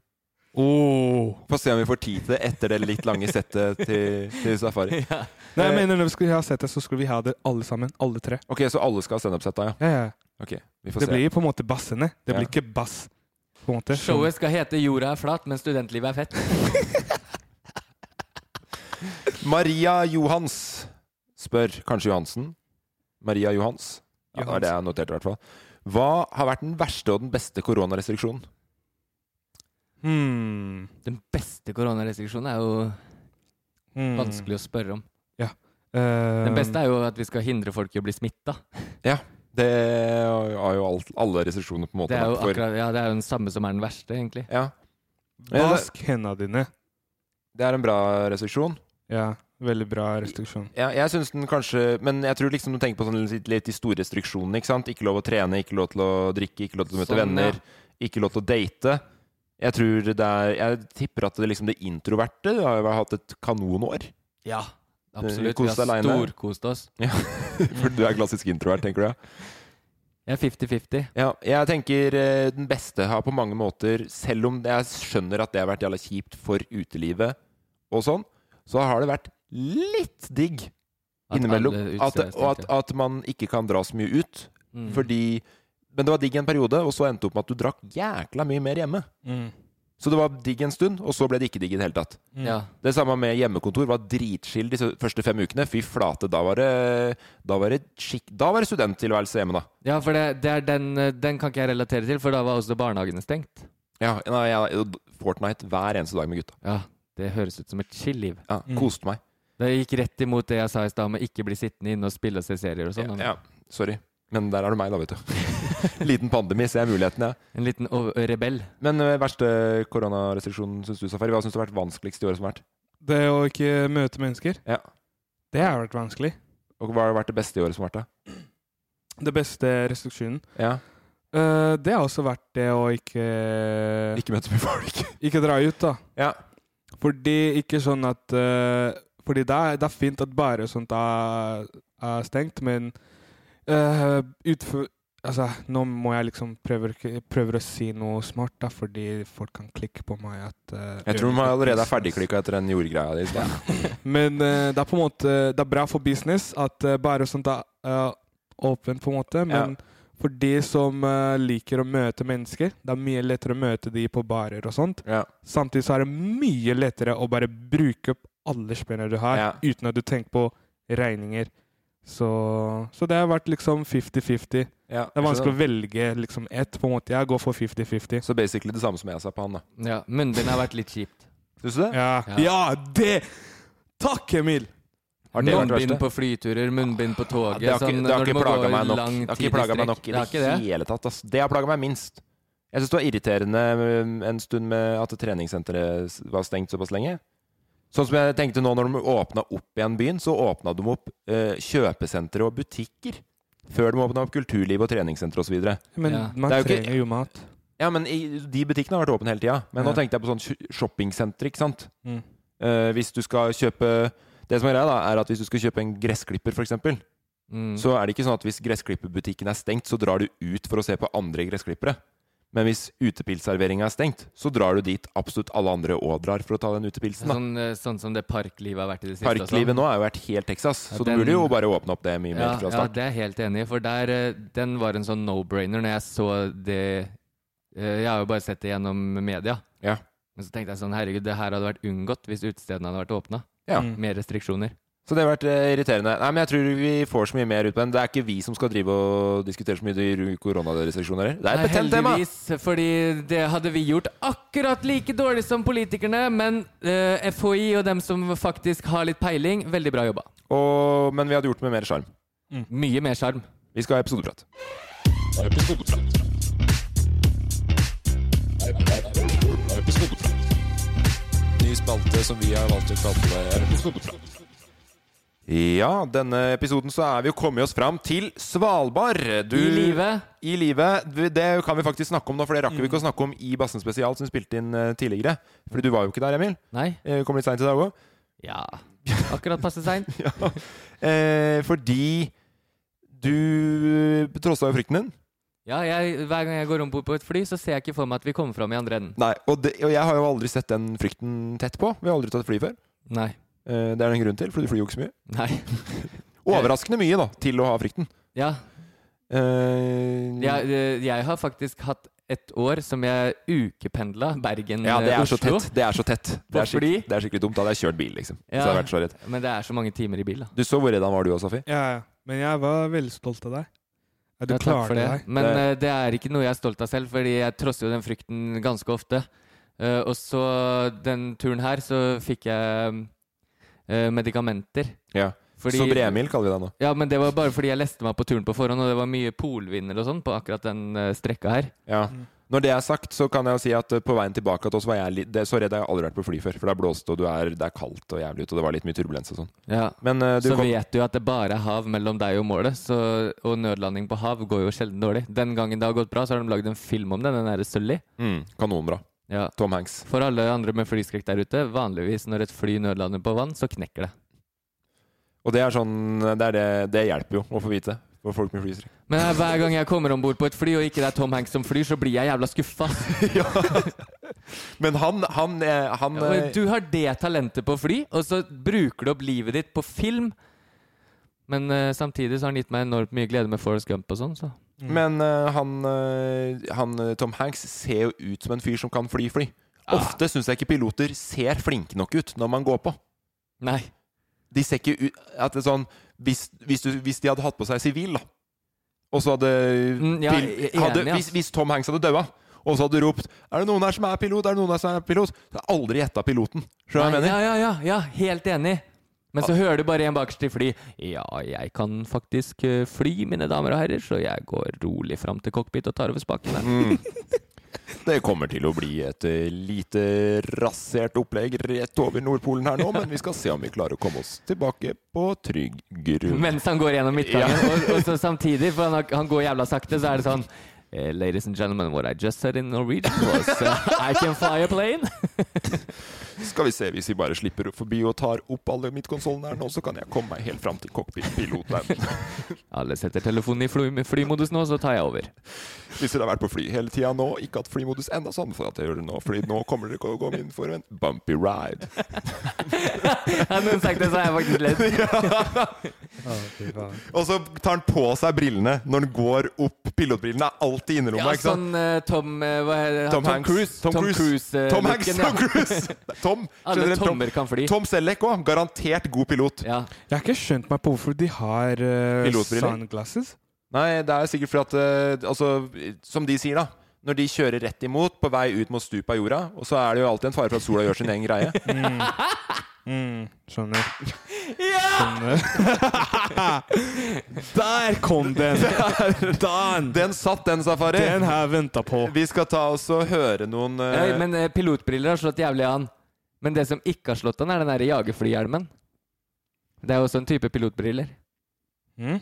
Få se om vi får tid til det etter det litt lange settet til, til Safari.
Nei, jeg mener, når vi skulle ha sett det, så skulle vi ha det alle sammen. Alle tre.
Ok, så alle skal ha standup-setta, ja?
Ja, ja.
Ok, vi får
Det
se.
blir på en måte bassene. Det
Ja.
blir ikke bass. På en måte.
Showet skal hete 'Jorda er flat, men studentlivet er fett'.
Maria Johans spør kanskje Johansen. Maria Johans. Ja, det var det jeg noterte, i hvert fall. Hva har vært den verste og den beste koronarestriksjonen?
Hmm.
Den beste koronarestriksjonen er jo vanskelig å spørre om.
Mm. Ja. Hmm. Eh,
Den beste er jo at vi skal hindre folk i å bli smitta.
Ja, det har jo alt, alle restriksjoner på en måte
Det er jo
vært for.
akkurat, ja, det er jo den samme som er den verste, egentlig.
Ja. Ja, det-
Vask hendene dine.
Det er en bra restriksjon.
Ja, veldig bra restriksjon.
Ja, jeg synes den kanskje Men jeg tror liksom du tenker på sånn litt, litt de store restriksjonene. Ikke sant? Ikke lov å trene, ikke lov til å drikke, ikke lov til å møte
Sånn,
venner.
ja.
Ikke lov til å date. Jeg tror det er Jeg tipper at det, liksom, det introverte har jo hatt et kanonår.
Ja, absolutt.
Kos
Vi har
deg alene.
storkost oss.
Ja, For du er klassisk introvert, tenker du? ja?
Jeg er 50-50.
Ja, jeg tenker eh, den beste har på mange måter Selv om jeg skjønner at det har vært jævla kjipt for utelivet og sånn, så har det vært litt digg
At
innimellom.
alle utesteder
At,
er
og at,
stengt,
at man ikke kan dra så mye ut.
Mm.
Fordi Men det var digg en periode, og så endte det opp med at du drakk jækla mye mer hjemme.
Mm.
Så det var digg en stund, og så ble det ikke digg i det hele tatt.
Mm.
Hmm.
Ja.
Det samme med hjemmekontor. Var dritskill de første fem ukene. Fy flate, da var det, da var det, skikk- da var det studenttilværelse hjemme, da.
Ja, for det, det er den, eh, den kan ikke jeg relatere til, for da var også barnehagene stengt.
Ja, nei, jeg- Fortnite hver eneste dag med gutta.
Ja, Det høres ut som et chill-liv.
Ja,
Mm.
Koste meg.
Det gikk rett imot det jeg sa i stad om å ikke bli sittende inne og spille og se serier og sånn.
Ja, sorry. Men der er du meg, da, vet du. Liten pandemi, ser jeg mulighetene, jeg.
En liten o- rebell.
Men ø, verste koronarestriksjonen, syns du, Safari? Hva syns du har vært vanskeligst i året som har vært?
Det å ikke møte mennesker,
Ja.
det har vært vanskelig.
Og hva har vært det beste i året som har vært, da?
Det beste restriksjonen.
Ja.
Eh, det har også vært det å ikke
Ikke møte mye folk.
Ikke dra ut, da.
Ja.
Fordi ikke sånn at eh, Fordi det er, det er fint at bare sånt er, er stengt, men eh, utfor Altså, nå må jeg liksom prøve, å ikke- prøve å si noe smart, da, fordi folk kan klikke på meg at eh,
Jeg tror man allerede er ferdigklikka etter den jordgreia di. Ja.
Men eh, det er på en måte Det er bra for business at eh, bare sånt er eh, åpent, på en måte. Men for de som eh, liker å møte mennesker, det er mye lettere å møte de på barer og sånt. Samtidig så er det mye lettere å bare bruke opp alle spennene du har, uten at du tenker på regninger. Så, så det har vært liksom 50-50.
Ja,
det er vanskelig
skjønner.
å velge liksom ett, på en måte. Jeg går for 50-50.
Så basically det samme som jeg sa på han, da.
Ja, Munnbind har vært litt kjipt.
Syns du det?
Ja. ja, det! Takk, Emil!
Har det vært
munnbind
verste?
på flyturer, munnbind på toget.
Det har ikke,
sånn,
det har
når du
ikke
må gå
plaga meg nok.
lang
Det har
tid
ikke plaga meg
strekk. Det
nok i det,
har ikke det.
hele tatt. ass. Det har plaga meg minst. Jeg syns det var irriterende mm, en stund med at treningssenteret s- var stengt såpass lenge. Sånn som jeg tenkte nå når de åpna opp igjen byen, så åpna de opp eh, kjøpesentre og butikker. Før de åpna opp kulturliv og treningssentre osv.
Men man trenger jo mat.
Ja, men i, de butikkene har vært åpne hele tida. Men nå
Ja.
tenkte jeg på sånn sh- shoppingsentre, ikke sant.
Mm.
Eh, hvis du skal kjøpe Det som er greia, da, er at hvis du skal kjøpe en gressklipper, f.eks., eksempel
Mm.
så er det ikke sånn at hvis gressklipperbutikken er stengt, så drar du ut for å se på andre gressklippere. Men hvis utepilsserveringa er stengt, så drar du dit absolutt alle andre òg drar for å ta den utepilsen. Da.
Sånn, eh, sånn som det parklivet har vært i det siste. og sånn.
Parklivet nå har jo vært helt Texas,
Ja,
så det
den-
burde jo bare åpne opp det mye mer
Ja,
fra
ja,
start.
det er jeg helt enig i. For der, eh, den var en sånn no-brainer når jeg så det eh, Jeg har jo bare sett det gjennom media.
Ja.
Men så tenkte jeg sånn, herregud, det her hadde vært unngått hvis utestedene hadde vært åpna.
Ja.
Med restriksjoner.
Så det har vært eh, irriterende. Nei, men Jeg tror vi får så mye mer ut på den. Det er ikke vi som skal drive og diskutere så mye de koronarestriksjoner. Det er et betent tema!
Heldigvis, fordi det hadde vi gjort akkurat like dårlig som politikerne, men eh, FHI og dem som faktisk har litt peiling, veldig bra jobba.
Og, men vi hadde gjort det med mer sjarm.
Mye mer sjarm.
Vi skal ha episodeprat.
Ny spalte som vi har valgt å kalle
Ja, denne episoden så er vi jo kommet oss fram til Svalbard. Du-
I live.
I live. Du- Det kan vi faktisk snakke om nå, for det rakk vi ikke å snakke om i Bassen spesial, som vi spilte inn eh, tidligere. Fordi du var jo ikke der, Emil.
Nei.
Eh, Kom litt seint i dag òg.
Ja. Akkurat passe seint.
Eh, fordi du trossa jo frykten din.
Ja, jeg, hver gang jeg går om bord på et fly, så ser jeg ikke for meg at vi kommer fram i andre enden.
Nei, og, det, og jeg har jo aldri sett den frykten tett på. Vi har aldri tatt fly før.
Nei.
Eh, Det er det en grunn til, for du flyr jo ikke så mye.
Nei.
Overraskende mye, da, til å ha frykten.
Ja.
Eh,
Jeg, eh, jeg har faktisk hatt et år som jeg ukependla eh, Bergen-Oslo.
Ja, det er så tett. Det er så tett. Det
På
er, skikkelig, det er skikkelig dumt. Da hadde jeg kjørt bil, liksom. Så
Ja.
hadde jeg vært så redd.
Men det er så mange timer i bil, da.
Du så hvor redd han var, du òg, Safi?
Ja, ja. Men jeg var veldig stolt av deg. Ja, du
Ja, takk for
klarte
det.
deg.
Men eh, det er ikke noe jeg er stolt av selv, fordi jeg trosser jo den frykten ganske ofte. Eh, og så den turen her, så fikk jeg eh, medikamenter.
Ja.
Fordi-
Sobremil kaller vi deg nå.
Ja, men det var bare fordi jeg leste meg på turen på forhånd, og det var mye polvinder og sånn på akkurat den eh, strekka her.
Ja. Når det er sagt, så kan jeg jo si at eh, på veien tilbake til oss var jeg litt det- Så redd har jeg aldri vært på fly før. For det er blåst, og du er, det er kaldt og jævlig ute, og det var litt mye turbulens og sånn.
Ja.
Men eh, du
så
kom
vet du at det bare er hav mellom deg og målet, så, og nødlanding på hav går jo sjelden dårlig. Den gangen det har gått bra, så har de lagd en film om det, den derre Sully.
mm, Kanonbra.
Ja.
Tom Hanks.
For alle andre med flyskrekk der ute, vanligvis når et fly nødlander på vann, så knekker det.
Og det er sånn Det, er det, det hjelper jo å få vite for folk med flystrikk.
Men eh, hver gang jeg kommer om bord på et fly, og ikke det er Tom Hanks som flyr, så blir jeg jævla skuffa.
Men han, han, eh, han eh,
du har det talentet på å fly, og så bruker du opp livet ditt på film. Men eh, samtidig så har han gitt meg enormt mye glede med Forrest Gump og sånn, så
Men eh, han, eh, han eh, Tom Hanks ser jo ut som en fyr som kan fly fly.
Ah.
Ofte syns jeg ikke piloter ser flinke nok ut når man går på.
Nei.
De ser ikke ut at det er sånn, hvis, hvis, du, hvis de hadde hatt på seg sivil, da, og så hadde,
Mm, ja,
pil-
jeg er
hadde
enig, ass.
hvis, hvis Tom Hanks hadde daua, og så hadde du ropt 'Er det noen her som er pilot?' Er det noen her som er pilot? Så hadde jeg aldri gjetta piloten. Skjønner du hva jeg
Nei,
mener?
Ja, ja, ja, ja, helt enig. Men
Ah.
så hører du bare en bakerst i fly. Ja, jeg kan faktisk eh, fly, mine damer og herrer, så jeg går rolig fram til cockpit og tar over spakene.
Mm. Det kommer til å bli et eh, lite rasert opplegg rett over Nordpolen her nå, men vi skal se om vi klarer å komme oss tilbake på trygg grunn.
Mens han går gjennom midtgangen.
Ja.
og, og så samtidig, for han, har- han går jævla sakte, så er det sånn eh, Ladies and gentlemen, what I just said in Norwegian was eh, I can fly a plane.
Skal vi se, hvis vi bare slipper forbi og tar opp alle midtkonsollene her nå, så kan jeg komme meg helt fram til cockpitpiloten.
Alle setter telefonen i fly, flymodus nå, så tar jeg over.
Hvis dere har vært på fly hele tida nå, ikke hatt flymodus enda sånn for at jeg gjør det nå, fordi nå kommer dere til å gå inn for en bumpy ride.
Hadde noen sagt det, så hadde jeg faktisk ledd.
Og så tar han på seg brillene når han går opp. Pilotbrillene er alltid
Ja,
innerlomma, ikke sant?
sånn eh, Tom eh, hva er det?
Tom Hanks.
Cruise.
Tom Cruise.
eh,
Tom Hanks,
looken, ja.
Tom Cruise. Tom,
Alle
generelt Tom.
tommer kan fly.
Tom Selleck òg. Garantert god pilot.
Jeg har ikke skjønt meg på hvorfor de har eh,
Pilotbriller?
sunglasses.
Nei, det er sikkert fordi at eh, Altså, som de sier, da. Når de kjører rett imot, på vei ut mot stupet av jorda, og så er det jo alltid en fare for at sola gjør sin egen greie.
Mm, skjønner.
Der kom den! Den, satt, den, Safari.
Den har
jeg venta på. Vi skal ta oss og høre noen eh,
Nei, men eh, pilotbriller har slått jævlig an. Men det som ikke har slått an, er den der jagerflyhjelmen. Det er jo også en type pilotbriller.
Mm?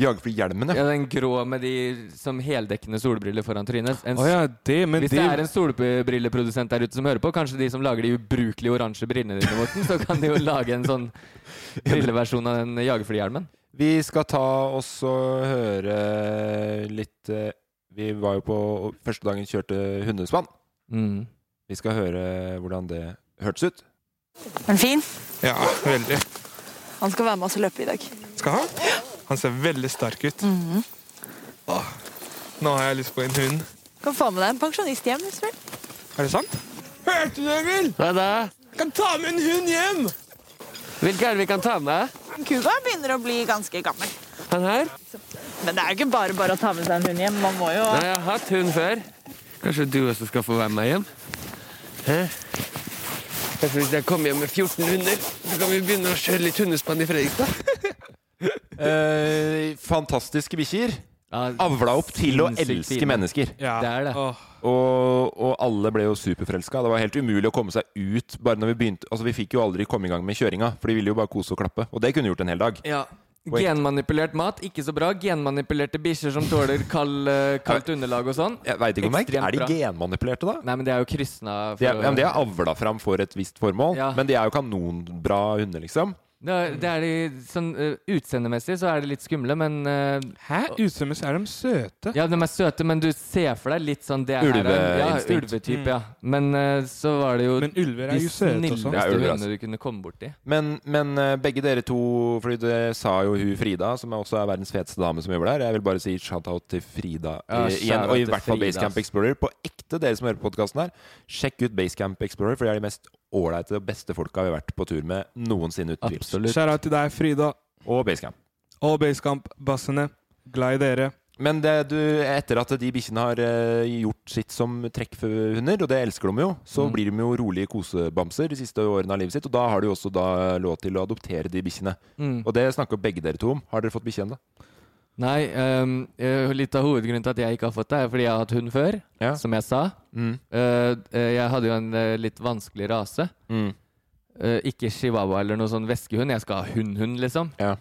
Jagerflyhjelmen,
Ja, Den grå med de som heldekkende solbriller foran trynet. En s-
Å ja, det, men
Hvis
det,
det er en solbrilleprodusent der ute som hører på, kanskje de som lager de ubrukelige oransje brillene dine, Morten, så kan de jo lage en sånn brilleversjon av den jagerflyhjelmen.
Vi skal ta oss og høre litt eh, Vi var jo på første dagen kjørte hundespann.
Mm.
Vi skal høre hvordan det hørtes ut.
Men fin.
Ja, veldig.
Han skal være med oss og løpe i dag. Mhm.
Skal han? Han ser veldig sterk ut. Åh, nå har jeg lyst på en hund.
Kan få med deg en pensjonist hjem. hvis du vil.
Er det sant? Hørte du, Emil?
Hva da?
Kan ta med en hund hjem!
Hvilke er det vi kan ta med?
Cuba begynner å bli ganske gammel.
Han her?
Men det er jo ikke bare bare å ta med seg en hund hjem. Man må jo
Nei, jeg har hatt hund før. Kanskje du også skal få være med hjem? Hæ? Kanskje hvis jeg kommer hjem med 14 hunder, så kan vi begynne å kjøre litt hundespann i Fredrikstad?
Eh, fantastiske bikkjer. Avla opp til å
sinnssykt
elske
fine.
mennesker.
Ja. Det er det. Åh.
Og, og alle ble jo superforelska. Det var helt umulig å komme seg ut. Bare når Vi begynte Altså vi fikk jo aldri komme i gang med kjøringa, for de ville jo bare kose og klappe. Og det kunne vi gjort en hel dag.
Ja. Genmanipulert mat, ikke så bra. Genmanipulerte bikkjer som tåler kald, eh, kaldt underlag og sånn.
Jeg vet ikke om jeg,
Ekstremt
Er de
bra.
genmanipulerte, da?
Nei, men det er jo krysna
De er, ja, men de er avla fram for et visst formål, men de er jo kanonbra hunder, liksom.
Det er, det er de, sånn, eh, utseendemessig så er de litt skumle, men Hæ?
Utseendemessig er de søte.
Ja, de er søte, men du ser for deg litt sånn det her er- Ja,
Ulveinstinkt.
ulvetype,
Mm.
ja. Men eh, så var det jo
Men ulver er
de
jo søte og sånn.
snilleste
Ja, ulver, altså.
hundene du kunne komme borti.
Men, men eh, begge dere to, Fordi det sa jo hun Frida, som også er verdens feteste dame som jobber der. Jeg vil bare si shout-out til Frida
Ja,
eh, igjen, og i
shout-out til
hvert fall
Frida, ass.
Basecamp Explorer. På ekte, dere som hører på podkasten her, sjekk ut Basecamp Explorer, for de er de mest ålreite og beste folka vi har vært på tur med noensinne, uten tvil.
Skjæra til deg, Frida.
Og Basecamp.
Og Basecamp-bassene. Glad i dere.
Men det du, etter at de bikkjene har eh, gjort sitt som trekkhunder, og det elsker de jo, så
Mm.
blir de jo rolige kosebamser de siste årene av livet sitt. Og da har de jo også da eh, lov til å adoptere de bikkjene.
Mm.
Og det snakker begge dere to om. Har dere fått bikkje ennå?
Nei, ehm, eh, litt av hovedgrunnen til at jeg ikke har fått det, er fordi jeg har hatt hund før, som jeg sa.
Mm.
Eh, eh, jeg hadde jo en eh, litt vanskelig rase.
Mm.
Eh, ikke chihuahua eller noe sånn veskehund. Jeg skal ha hund-hund, liksom. Eh,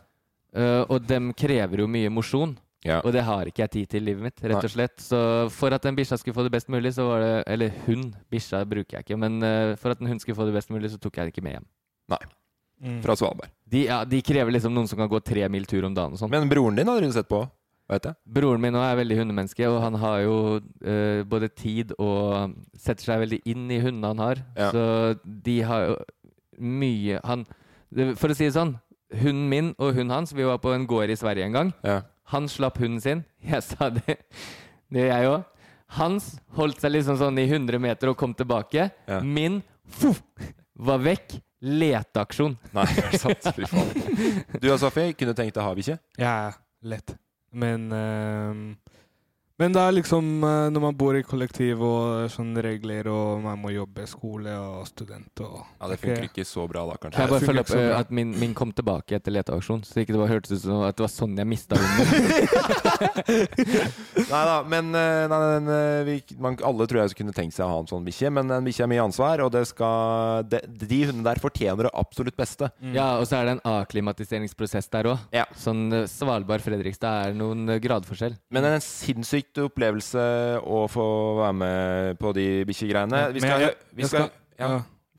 og dem krever jo mye mosjon. Og det har ikke jeg tid til i livet mitt, rett og slett. Så for at den bikkja skulle få det best mulig, så var det Eller hund, bikkja bruker jeg ikke. Men eh, for at en hund skulle få det best mulig, så tok jeg det ikke med hjem.
Nei. Fra Svalbard.
De, ja, de krever liksom noen som kan gå tre mil tur om dagen og sånn.
Men broren din hadde du sett på? Vet jeg.
Broren min nå er veldig hundemenneske, og han har jo eh, både tid og setter seg veldig inn i hundene han har.
Ja.
Så de har jo mye Han For å si det sånn, hunden min og hunden hans Vi var på en gård i Sverige en gang. Han slapp hunden sin. Jeg sa det. Det gjør jeg òg. Hans holdt seg liksom sånn i 100 meter og kom tilbake. Min fuff, var vekk. Leteaksjon.
Nei, er det sant? Fy faen. Du og Safi kunne tenkt deg å ha bikkje?
Ja, lett. Men ehm, Men det er liksom eh, når man bor i kollektiv og sånne regler, og man må jobbe, skole og student og
Ja, det funker ikke så bra da, kanskje.
Kan jeg bare følge opp
funker ikke så
eh,
bra.
at min, min kom tilbake etter leteaksjon? Så ikke det bare hørtes ut som at det var sånn jeg mista hunden.
Nei da, men eh, nei, nei, nei, vi, man, alle tror jeg kunne tenkt seg å ha en sånn bikkje, men en bikkje er mye ansvar, og det skal, de, de hundene der fortjener det absolutt beste.
Mm.
Ja, og så er det en akklimatiseringsprosess der òg. Sånn eh, Svalbard-Fredrikstad er noen eh, gradforskjell.
Men en sinnssykt opplevelse å få være med på de bikkjegreiene. Vi
Men
skal,
jeg-
vi
jeg
skal,
ja.
ja.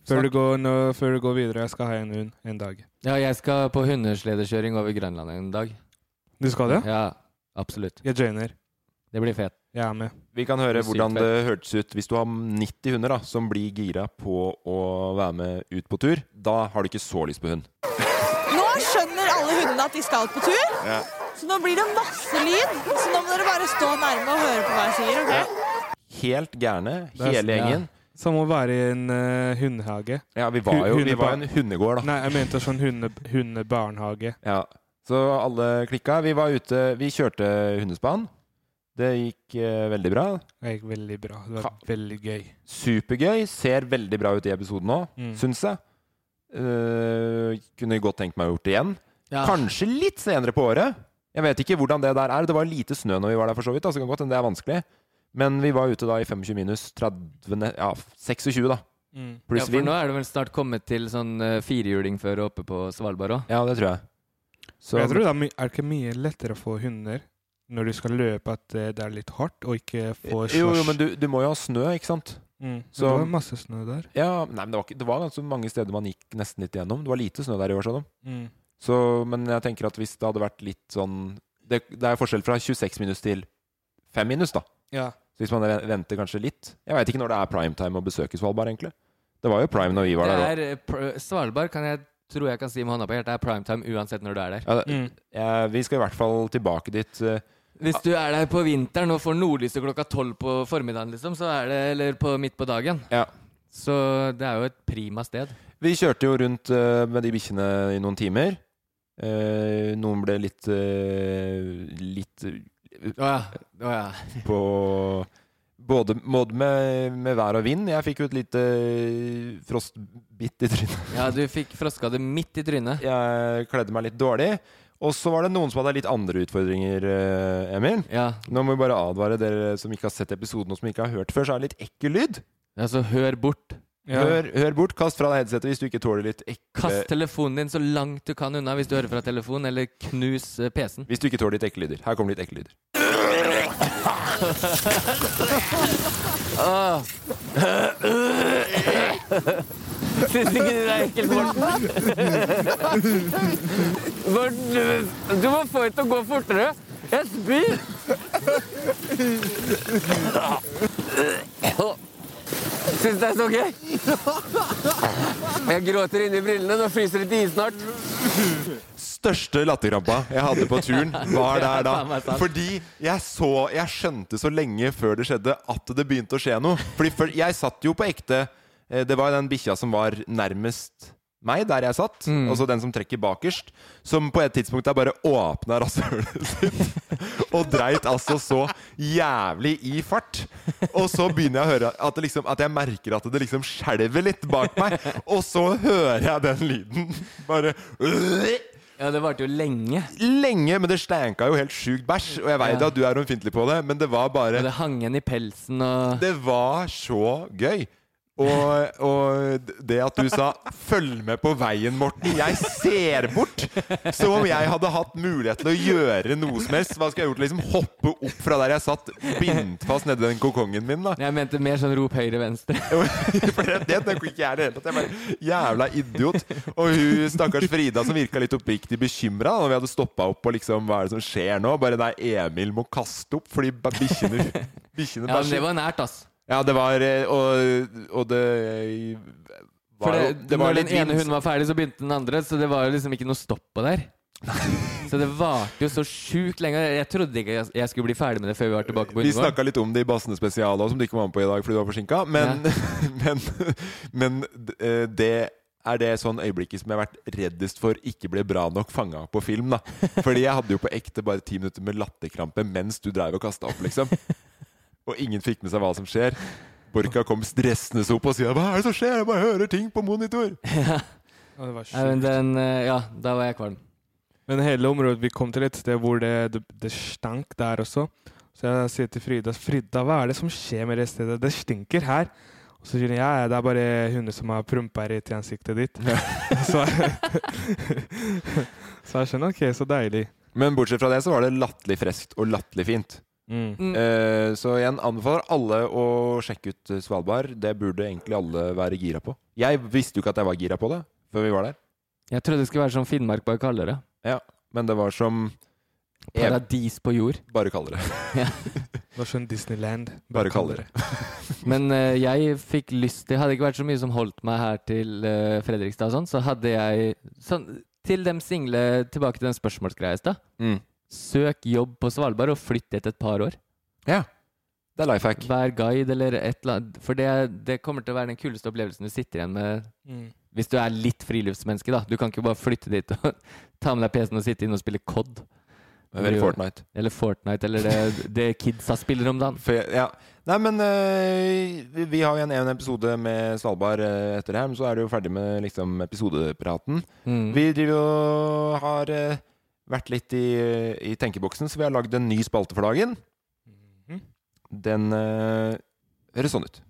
Før, du går, nå, før du går videre, jeg skal ha en hund en dag.
Ja, jeg skal på hundesledekjøring over Grønland en dag.
Du skal det?
Ja, absolutt.
Jeg joiner.
Det blir fett.
Jeg er med.
Vi kan høre
Sykt
hvordan det
fett.
hørtes ut hvis du har 90 hunder da, som blir gira på å være med ut på tur. Da har du ikke så lyst på hund.
Nå skjønner alle hundene at de skal på tur. Så nå blir det masse lyd. Så nå må dere bare stå nærme og høre på hva jeg sier. ok?
Helt gærne,
Det er-
hele gjengen.
Ja. Som å være i en eh, hundehage.
Ja, vi var
Hu-
jo vi var
hundebar-
en hundegård, da.
Nei, jeg mente sånn hunde, hundebarnehage.
Ja. Så alle klikka. Vi var ute Vi kjørte hundespann. Det gikk eh, veldig bra.
Det gikk veldig bra. Det var veldig gøy.
Supergøy. Ser veldig bra ut i episoden nå,
Mm.
syns jeg. Eh, kunne godt tenkt meg å gjort det igjen.
Ja.
Kanskje litt senere på året. Jeg vet ikke hvordan det der er. Det var lite snø når vi var der, for så vidt. Da, så det kan godt hende det er vanskelig. Men vi var ute da i 25 minus 30 ne- Ja, 26, da.
Mm.
Ja,
Pluss
for
vind.
nå er det vel snart kommet til sånn eh, firehjulingføre oppe på Svalbard òg.
Ja, det tror jeg. Så-
Men jeg tror det er, my er det ikke mye lettere å få hunder når du skal løpe, at eh, det er litt hardt, og ikke få
Jo, jo,
slåss.
men du, du må jo ha snø, ikke sant?
Mm.
Så-
det var masse snø der.
Ja, nei, men det var, ikke, det var ganske mange steder man gikk nesten litt gjennom. Det var lite snø der i år, sa de.
Mm.
Så, men jeg tenker at hvis det hadde vært litt sånn Det, det er forskjell fra 26 minus til 5 minus, da.
Ja.
Så hvis man ven- venter kanskje litt Jeg veit ikke når det er primetime å besøke Svalbard, egentlig. Det var jo prime når vi var
Det
der òg.
er eh, pr- Svalbard kan jeg tror jeg kan si med hånda på hjertet er primetime uansett når du er der.
Ja, det-
Eh, Mm.
jeg- vi skal i hvert fall tilbake dit. eh,
Hvis du er der på vinteren og får nordlyset klokka tolv på formiddagen, liksom, så er det, eller på midt på dagen, så det er jo et prima sted.
Vi kjørte jo rundt eh, med de bikkjene i noen timer. Eh,
Eh, noen ble litt eh, Litt Å
ja.
På både, både med, med vær og vind. Jeg fikk jo et lite eh, frostbitt i trynet.
Ja, du fikk froska det midt i trynet.
Jeg kledde meg litt dårlig. Og så var det noen som hadde litt andre utfordringer, eh, Emil. Nå må vi bare advare dere som ikke har sett episoden og som ikke har hørt før, så er det litt ekkel lyd.
Altså, hør bort.
Hør, hør bort, kast fra deg headsetet hvis du ikke tåler litt ekle
Kast telefonen din så langt du kan unna hvis du hører fra telefonen, eller knus eh, PC-en.
Hvis du ikke tåler litt ekle lyder. Her kommer litt ekle lyder.
Åh. Syns ikke du det er ekkelt, Morten? Morten, Du må få det til å gå fortere. Jeg spyr! Syns det er så gøy. Jeg gråter inni brillene. Nå fryser det til is snart.
Største latterkrampa jeg hadde på turen, var
Ja,
der
faen
da.
meg sant.
Fordi jeg så Jeg skjønte så lenge før det skjedde, at det begynte å skje noe. Fordi før, jeg satt jo på ekte eh, Det var den bikkja som var nærmest meg, der jeg satt. Altså den som trekker bakerst. Som på et tidspunkt der bare åpna rasshølet sitt og dreit altså så jævlig i fart. Og så begynner jeg å høre at, det liksom, at jeg merker at det liksom skjelver litt bak meg. Og så hører jeg den lyden. Bare
Ja, det varte jo lenge.
Lenge, men det stanka jo helt sjukt bæsj. Og jeg veit
Ja.
at du er ømfintlig på det, men det var bare
Og det hang igjen i pelsen og
Det var så gøy. Og, og det at du sa 'følg med på veien, Morten', jeg ser bort! Som om jeg hadde hatt mulighet til å gjøre noe som helst. Hva skulle jeg gjort? Liksom hoppe opp fra der jeg satt, bindt fast nedi den kokongen min, da?
Jeg mente mer sånn rop høyre-venstre.
For det, det tenker ikke jeg i det hele tatt. Jeg bare, jævla idiot. Og hun stakkars Frida som virka litt oppriktig bekymra når vi hadde stoppa opp og liksom Hva er det som skjer nå? Bare nei, Emil må kaste opp fordi ba- bikkjene Bikkjene
Ja, men det
bæsjer.
var nært, ass.
Ja, det var eh, Og, og det var
For det,
jo- det var
når
litt
den ene
vind.
hunden var ferdig, så begynte den andre, så det var jo liksom ikke noe stopp på der. Så det varte jo så sjukt lenge. Jeg trodde ikke jeg- jeg skulle bli ferdig med det før vi var tilbake på
Vi
hundegården.
snakka litt om det i Bassene spesial òg, som du ikke var med på i dag fordi du var forsinka. Men, men, men d- eh, det er det sånn øyeblikket som jeg har vært reddest for ikke ble bra nok fanga på film. da Fordi jeg hadde jo på ekte bare ti minutter med latterkrampe mens du dreiv og kasta opp, liksom. Og ingen fikk med seg hva som skjer. Borka kom stressende opp og sier 'Hva er det som skjer?' Jeg bare hører ting på monitor.
Ja, det var
Nei, men den, eh, ja, da var jeg kvalm.
Men hele området Vi kom til et sted hvor det, det, det stank der også. Så jeg sier til Frida Frida, hva er det som skjer med det stedet? Det stinker her. Og så sier hun ja, ja, det er bare hunder som har prompa rett i ansiktet ditt. så, så jeg skjønner. Ok, så deilig.
Men bortsett fra det så var det latterlig freskt og latterlig fint.
Mm.
Mm.
Eh, så igjen anbefaler alle å sjekke ut eh, Svalbard. Det burde egentlig alle være gira på. Jeg visste jo ikke at jeg var gira på det før vi var der.
Jeg trodde det skulle være som Finnmark, bare kaldere.
Ja, Men det var som
Paradis på jord.
Bare kaldere.
Ja.
Det var sånn Disneyland.
Bare kaldere.
Men eh, jeg fikk lyst til Hadde det ikke vært så mye som holdt meg her til eh, Fredrikstad og sånn, så hadde jeg sånn, Til dem single Tilbake til den spørsmålsgreia i stad.
Mm.
Søk jobb på Svalbard og flytt etter et par år.
Ja. Det er life hack.
Vær guide eller et eller annet. For det, det kommer til å være den kuleste opplevelsen du sitter igjen med
Mm.
hvis du er litt friluftsmenneske, da. Du kan ikke bare flytte dit og ta med deg PC-en og sitte inne og spille COD.
Eller Fortnite.
Eller Fortnite, eller det, det kidsa spiller om dagen.
For jeg, ja. Nei, men eh, vi- vi har jo en, en episode med Svalbard eh, etter det her, men så er det jo ferdig med liksom, episodepraten.
Mm.
Vi driver og har eh, vært litt i, eh, i tenkeboksen, så vi har lagd en ny spalte for dagen.
Mm.
Den eh, høres sånn ut.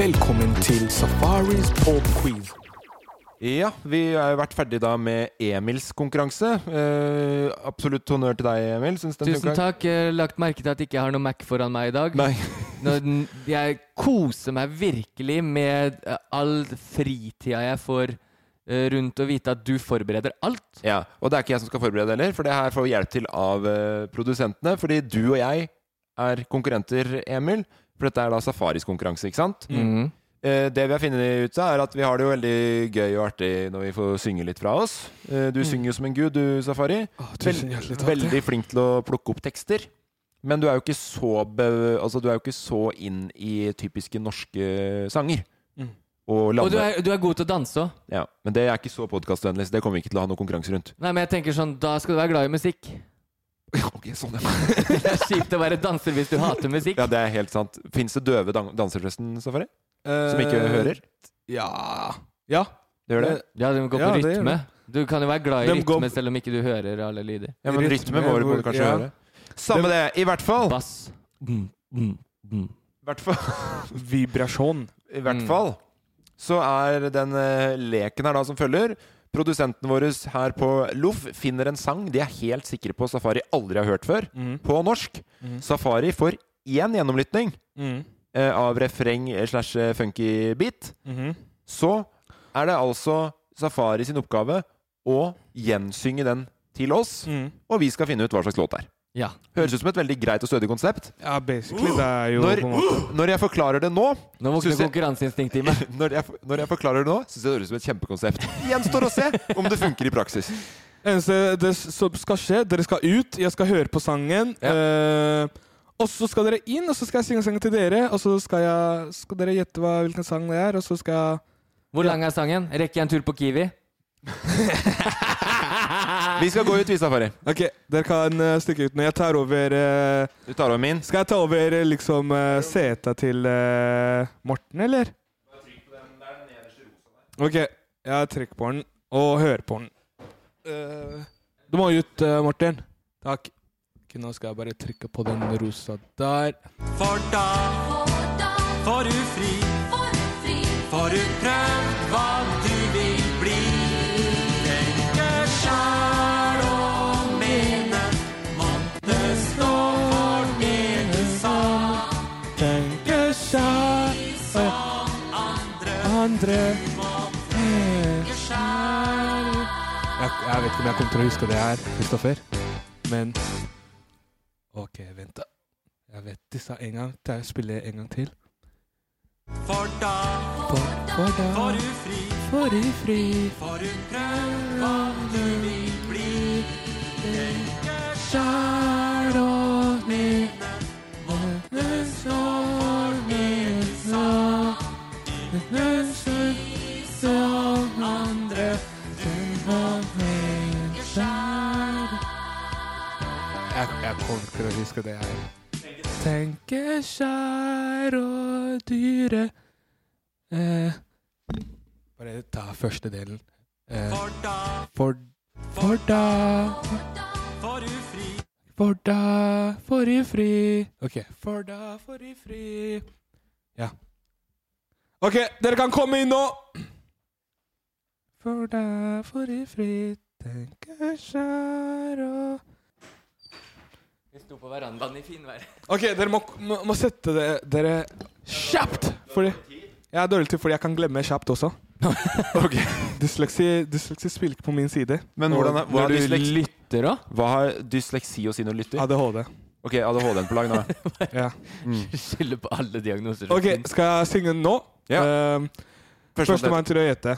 Velkommen til Safaris popquiz.
Ja, vi har jo vært ferdig da med Emils konkurranse. Eh, absolutt honnør til deg, Emil. Syns den
Tusen takk. eh, Lagt merke til at jeg ikke har noe Mac foran meg i dag.
Nei.
Når den- jeg koser meg virkelig med eh, all fritida jeg får eh, rundt å vite at du forbereder alt.
Ja, Og det er ikke jeg som skal forberede heller, for det her får vi hjelp til av eh, produsentene. Fordi du og jeg er konkurrenter, Emil. For dette er da Safaris konkurranse, ikke sant?
Mhm.
Eh, det vi har funnet ut av, er at vi har det jo veldig gøy og artig når vi får synge litt fra oss. Eh, du
Mm.
synger jo som en gud, du, Safari.
tusen hjertelig takk.
Veldig flink til å plukke opp tekster. Men du er jo ikke så, be altså, du er jo ikke så inn i typiske norske sanger.
Og
Og, lande.
du er, du er god til å danse òg.
Ja, Men det er ikke så podkastvennlig, så det kommer vi ikke til å ha noen konkurranse rundt.
Nei, men jeg tenker sånn, da skal du være glad i musikk.
Ok, sånn
Det er kjipt å være danser hvis du hater musikk.
Ja, det er helt sant. Fins det døve dan dansere, forresten, Safari? Som ikke
Eh,
hører?
Ja Ja.
Det gjør det?
Ja, de går på
Ja, det gjør
rytme.
det.
Du kan jo være glad i
De går-
rytme selv om ikke du hører alle lyder.
Ja, men rytme må du- må du kanskje
ja.
høre. Samme det, i hvert fall.
Bass. Mm, I
hvert fall
Vibrasjon.
I hvert fall så er den eh, leken her da som følger. Produsenten vår her på Loff finner en sang de er helt sikre på Safari aldri har hørt før, på norsk.
Mhm.
Safari får én gjennomlytning
Mhm.
eh, av refreng slash eh, funky beat.
Mhm.
Så er det altså Safari sin oppgave å gjensynge den til oss, og vi skal finne ut hva slags låt det er.
Ja.
Høres ut som et veldig greit og stødig konsept.
Ja, basically. Det er jo
Når,
på en måte
når jeg forklarer det nå
Nå våkner konkurranseinstinktet i meg.
Når jeg, når jeg forklarer det nå, syns jeg det høres ut som et kjempekonsept. Gjenstår å se om det funker i praksis.
Eneste det s- som skal skje, dere skal ut, jeg skal høre på sangen. eh, og så skal dere inn, og så skal jeg synge sangen til dere. Og så skal, jeg, skal dere gjette hva, hvilken sang det er, og så skal jeg
Hvor lang er sangen? Rekker jeg en tur på Kiwi?
Vi skal gå ut, vi, Safari.
Ok, Dere kan eh, stikke ut nå. Jeg tar over eh,
Du tar over min.
Skal jeg ta over eh, liksom eh, seta til eh, Morten, eller? Ok, jeg trykker på den, og hører på den. Eh, du må ut, eh, Morten. Takk. Ok, nå skal jeg bare trykke på den rosa der.
For da får du fri. Får du prøvd hva du vil bli. Tenke sjæl og mene. Måtte stå for det du sa.
Tenke seg
Som andre.
andre Eh,
Tenke sjæl.
jeg, jeg vet ikke om jeg kommer til å huske det her, Kristoffer, men Ok, vent, da. Jeg vet disse en gang. Jeg spiller en gang til.
For da
For da
får du fri.
får du fri.
Får du prøvd hva du vil bli. Tenke
sjæl og mene.
Måtte stå for det du sa.
Jeg, jeg kommer til å huske det her. Tenke skjær og dyre eh, Bare ta første delen. Eh, for, for da
Får du fri.
For da får jeg fri. OK.
For da får du fri.
Ja. OK, dere kan komme inn nå!
For da får du fri. Tenke skjær og
Vi sto på verandaen i finvær.
OK, dere må, må, må sette det, dere kjapt! Fordi jeg er dårlig til fordi jeg kan glemme kjapt også. dysleksi, dysleksi spiller ikke på min side.
Men hvordan er, hva er dysleks-
da?
Hva har dysleksi å si når du lytter?
ADHD.
Ok, ADHD-en på lag nå.
Ja.
Skylder på alle diagnoser. som
Ok,
finnes.
skal jeg synge den nå? Ja. Førstemann til å gjette.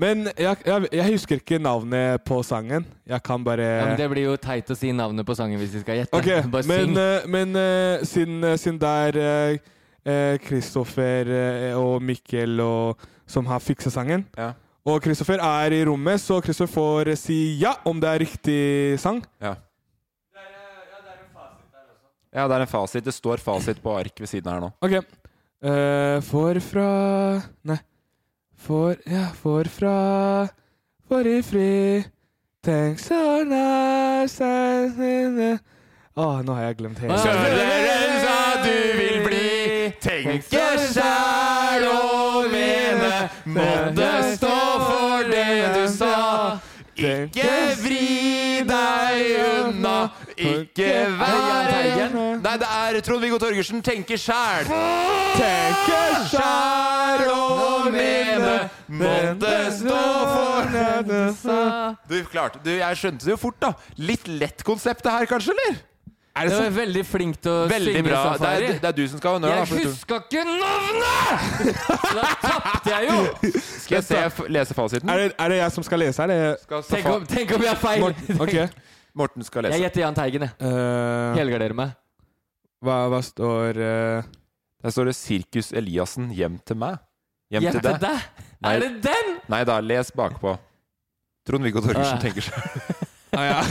Men jeg, jeg, jeg husker ikke navnet på sangen. Jeg kan bare
Ja, men det blir jo teit å si navnet på sangen hvis vi skal gjette.
Ok,
Bare
men,
syng.
eh, men eh, siden, eh, siden det er eh, eh, Kristoffer eh, og Mikkel og, som har fiksa sangen
Ja.
Og Kristoffer er i rommet, så Kristoffer får si ja om det er riktig sang.
Ja. ja, det er en fasit. Det står fasit på ark ved siden av her nå.
Ok. Eh, for fra Nei. For Ja, for fra For i fri Tenk så nær seg Å, nå har jeg glemt hele
Søleren sa du vil bli. Tenke sjæl og mene. Måtte stå for det du sa. Ikke vri deg unna.
Ikke vær igjen. Nei, det er Trond-Viggo Torgersen. Tenke sjæl.
Tenke sjæl og mene.
Måtte stå for Du, klart. Du, jeg skjønte det jo fort, da. Litt lett konsept det her, kanskje, eller?
Er det Du er sant? veldig flink til å
veldig
synge
bra.
Safari.
Det er, det er du som skal ha honnør. da,
Jeg
for du-
huska ikke navnet! Så da tapte jeg jo!
Skal jeg se, f- lese fasiten?
Er det, er det jeg som skal lese? Er det
Tenk om- tenk om jeg har feil.
Morten, ok.
Morten skal
Jeg gjetter Jahn Teigen, jeg. Helgarderer meg.
Hva, hva står eh,
Der står det 'Sirkus Eliassen hjem til meg'. Hjem, til deg. Nei.
Er det den?!
Nei da, les bakpå. Trond-Viggo Torgersen
Ah.
tenker seg
Ah, ja.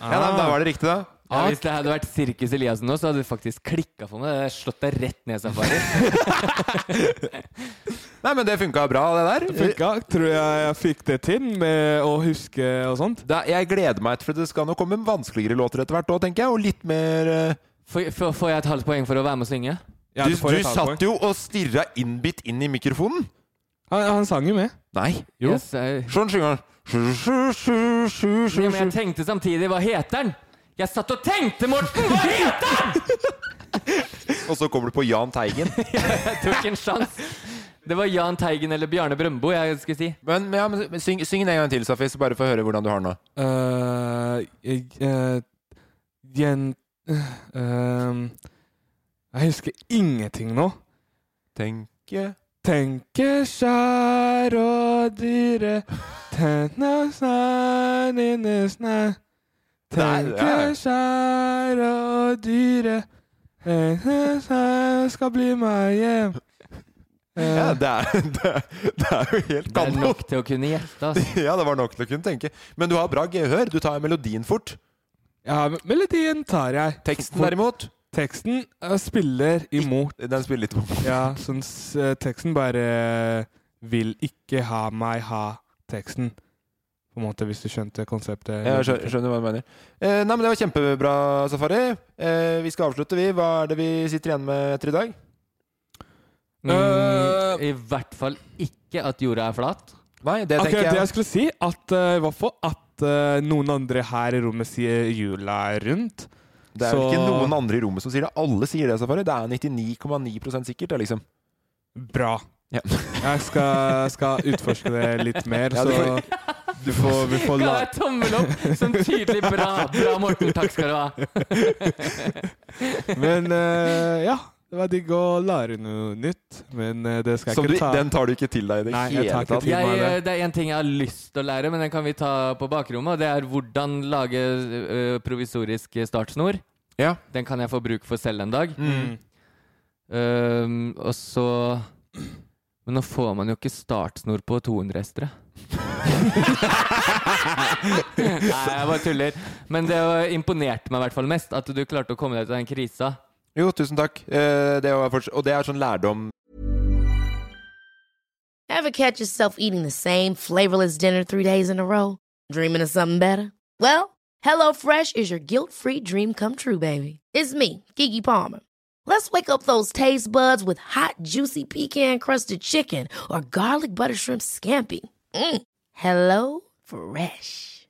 Ja, nei, men da var det riktig, da.
Ah. Ja, hvis det hadde vært Sirkus Eliassen nå, så hadde du faktisk klikka for meg. Jeg hadde slått deg rett ned i safari.
Nei, men det funka bra, det der.
Funka. Tror jeg jeg fikk det til med å huske og sånt.
Da, jeg gleder meg, for det skal nå komme vanskeligere låter etter hvert òg, tenker jeg. Og litt mer eh,
Får, får, får jeg et halvt poeng for å være med og synge?
Du, du satt jo og stirra innbitt inn i mikrofonen.
Han, han sang jo med.
Nei.
Jo.
Yes, jeg...
Sånn synger han.
Ja, men jeg tenkte samtidig Hva heter den? Jeg satt og tenkte, Morten! Hva heter den?!
Og så kommer du på Jahn Teigen.
Jeg tok en sjanse. Det var Jahn Teigen eller Bjarne Brøndbo jeg skulle si.
Men, men ja, men men syng, syng den en gang til, Safi, så bare få høre hvordan du har den nå.
Eh, jeg, eh, jen, ehm, jeg husker ingenting nå.
Tenke
Tenke skjær og dyre Tenna snær inne
Der,
snær
ja.
Tenke skjær og dyre Tenna snær skal bli meg hjem Eh,
Ja, det er, det, er- det er jo helt
Det er nok til å kunne gjette. Altså.
Ja, det var nok til å kunne tenke. Men du har bra gehør. Du tar melodien fort.
Ja, men melodien tar jeg
Teksten derimot?
Teksten eh, spiller imot
Den spiller litt imot
Ja, sånn s- eh, teksten bare Vil ikke ha meg ha teksten På en måte, hvis du skjønte konseptet
Jeg skjø- skjønner hva du mener. Eh, nei, men Det var kjempebra, Safari. Eh, vi skal avslutte, vi. Hva er det vi sitter igjen med etter i dag?
Mm, I hvert fall ikke at jorda er flat.
Nei, det
Akkurat
tenker
det
jeg.
jeg skulle si, at eh, i hvert fall at eh, noen andre her i rommet sier jula er rundt.
Det er jo ikke noen andre i rommet som sier det. Alle sier det, Safari. Det er 99,9 sikkert. Det, liksom.
Bra.
Ja.
Jeg skal, skal utforske det litt mer,
Ja, du får-
så du får, vi får
Ga
la...
deg tommel opp! Som tydelig bra. Bra, Morten. Takk skal du ha.
Men eh, ja, det var digg å lære noe nytt, men eh, det skal jeg
Som du,
ikke ta.
den tar du ikke til deg i det
Nei, jeg
hele
tar ikke
tatt.
til meg
Jeg, eh, det er én ting jeg har lyst til å lære, men den kan vi ta på bakrommet. Og det er hvordan lage ø, provisorisk startsnor.
Ja.
Den kan jeg få bruk for selv en dag.
Mm.
Ehm, og så Men nå får man jo ikke startsnor på 200-hestere. Nei, jeg bare tuller. Men det imponerte meg i hvert fall mest at du klarte å komme deg ut av den krisa.
Jo, tusen takk. Eh, det var forts- og det er sånn lærdom
Ever catch yourself eating the same flavorless dinner three days in a row? Dreaming of something better? Well, HelloFresh is your guilt free dream come true, baby. It's me, Kiki Palmer. Let's wake up those taste buds with hot, juicy pecan crusted chicken or garlic butter shrimp scampi. Mm. Hello Fresh.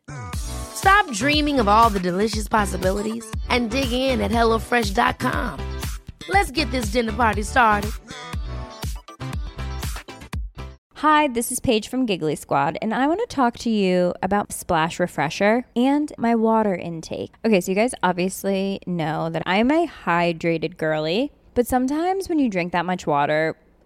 Stop dreaming of all the delicious possibilities and dig in at HelloFresh.com. Let's get this dinner party started.
Hi, this is Paige from Giggly Squad, and I want to talk to you about Splash Refresher and my water intake. Okay, so you guys obviously know that I'm a hydrated girly, but sometimes when you drink that much water,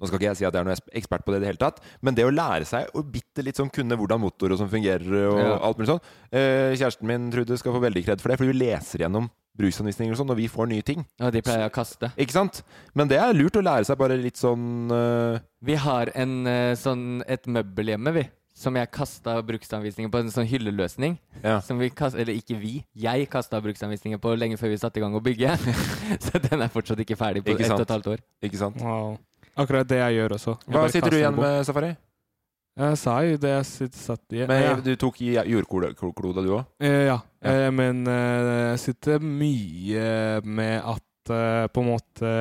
Nå skal ikke jeg si at jeg er noen eks- ekspert på det i det hele tatt, men det å lære seg å bitte litt sånn kunne hvordan motorer og sånn fungerer og
Ja.
alt mulig sånn eh, Kjæresten min, Trude, skal få veldig kred for det, for hun leser gjennom brusanvisninger og sånn når vi får nye ting.
Ja, de pleier å kaste.
Ikke sant? Men det er lurt å lære seg bare litt sånn eh,
Vi har en, eh, sånn, et møbel hjemme, vi. Som jeg kasta bruksanvisninger på, en sånn hylleløsning. Som vi kast, eller ikke vi, jeg kasta bruksanvisninger på lenge før vi satte i gang å bygge. Så den er fortsatt ikke ferdig på
Ikke
ett og
sant?
et halvt år.
Ikke sant?
Wow. Akkurat det jeg gjør også. Jeg
Hva
bare
sitter du
kaster
igjen
bort.
med, Safari?
Jeg sa jo det jeg sitt- satt i.
Men
ja.
Du tok i jordkloda, kloda, du òg?
Eh, ja. Eh, men eh, jeg sitter mye med at eh, på en måte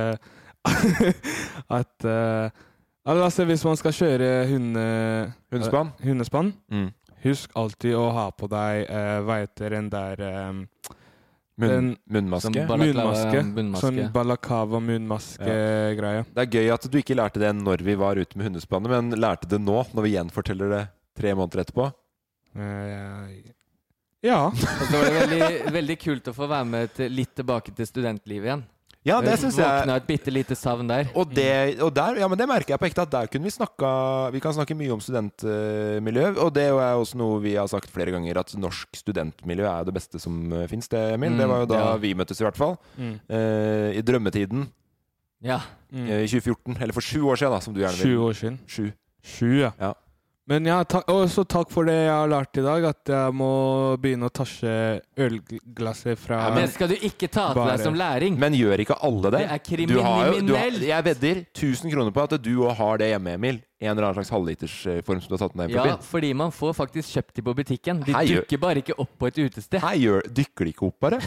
At eh, altså, Hvis man skal kjøre hunde... eh,
Hundespann?
Hundespann.
Mm.
Husk alltid å ha på deg eh, hva heter den der eh,
Munn-
den-
munnmaske?
Sånn
Balaklava,
munnmaske.
munnmaske.
Sånn balakava-munnmaske-greie.
Det er gøy at du ikke lærte det når vi var ute med hundespannet, men lærte det nå, når vi gjenforteller det tre måneder etterpå.
Eh, Ja.
Og så var det veldig, veldig kult å få være med til, litt tilbake til studentlivet igjen.
Ja, det synes jeg-
Våkna et bitte lite savn der.
Og det, og der, ja, men det merker jeg på ekte, at der kunne vi snakka Vi kan snakke mye om studentmiljø, og det er jo også noe vi har sagt flere ganger, at norsk studentmiljø er jo det beste som fins, det, Emil.
Mm,
det var jo da
ja.
vi møttes, i hvert fall.
Mm.
Eh, I drømmetiden.
Ja.
Mm.
Eh, I 2014. Eller for sju år siden, da, som du gjerne vil.
Sju år siden.
Sju.
Sju, ja. Men ja, ta også takk for det jeg har lært i dag, at jeg må begynne å tasje ølglasset fra
Det skal du ikke ta til
Bare-
deg som læring.
Men gjør ikke alle det?
Det er
Du har jo- du har-
kriminelt.
Jeg vedder 1000 kroner på at du òg har det hjemme, Emil. En eller annen slags halvlitersform som du har tatt med deg på
Ja,
byen.
fordi man får faktisk kjøpt de på butikken. De
Hei, gjør-
dukker bare ikke opp på et utested.
Her gjør, dykker de ikke opp, bare?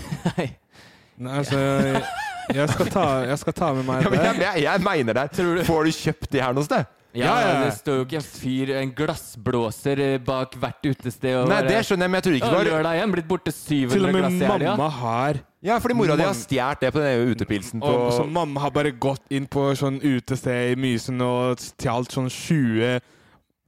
Nei, altså jeg, jeg, skal ta, jeg skal ta med meg
Ja, men jeg,
det.
jeg, jeg mener det. Får du kjøpt de her noe sted?
Ja, Det står jo ikke en fyr, en glassblåser, eh, bak hvert utested. Og
Nei,
bare-
det skjønner jeg, men jeg tror ikke
Ja,
det var-
Lørdag igjen, blitt borte 700
Til og med
glass i helga.
mamma har
Ja, fordi mora di har stjålet det på den utepilsen på
Og så mamma har bare gått inn på sånn utested i Mysen og stjålet sånn 20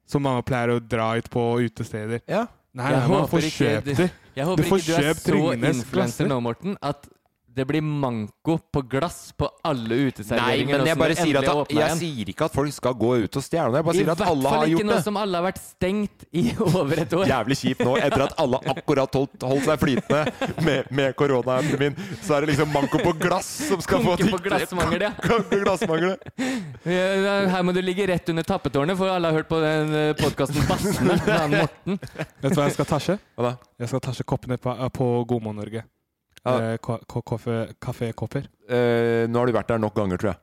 som mamma pleier å dra ut på utesteder. Nei,
Jeg
hun
håper
får
ikke-
kjøpt det.
Jeg håper
får
ikke du er
kjøpt
så
Ringnes
influenser
glasser.
nå, Morten, at det blir manko på glass på alle
Nei,
uteserveringer.
men
nå
jeg
som
bare
det
sier at
endelig åpner
Jeg
igjen.
sier ikke at folk skal gå ut og stjele noe. Jeg bare
I
sier at
hvert
alle
fall
har
ikke
gjort
noe
det.
som alle har vært stengt i over et år.
Jævlig kjipt nå, etter at alle akkurat holdt, holdt seg flytende med, med koronaepidemien. Så er det liksom manko på glass som skal få
Konke på glassmangel, ja.
Konke glassmangel.
Ja, Her må du ligge rett under tappetårnet, for alle har hørt på den podkasten Bassene med han Morten.
Vet du hva jeg skal tasje?
Hva da?
Jeg skal tasje koppene på, på God morgen Norge.
Ja.
Eh, ko- ko- kaffe- Kafékopper.
Eh, nå har du vært der nok ganger, tror jeg.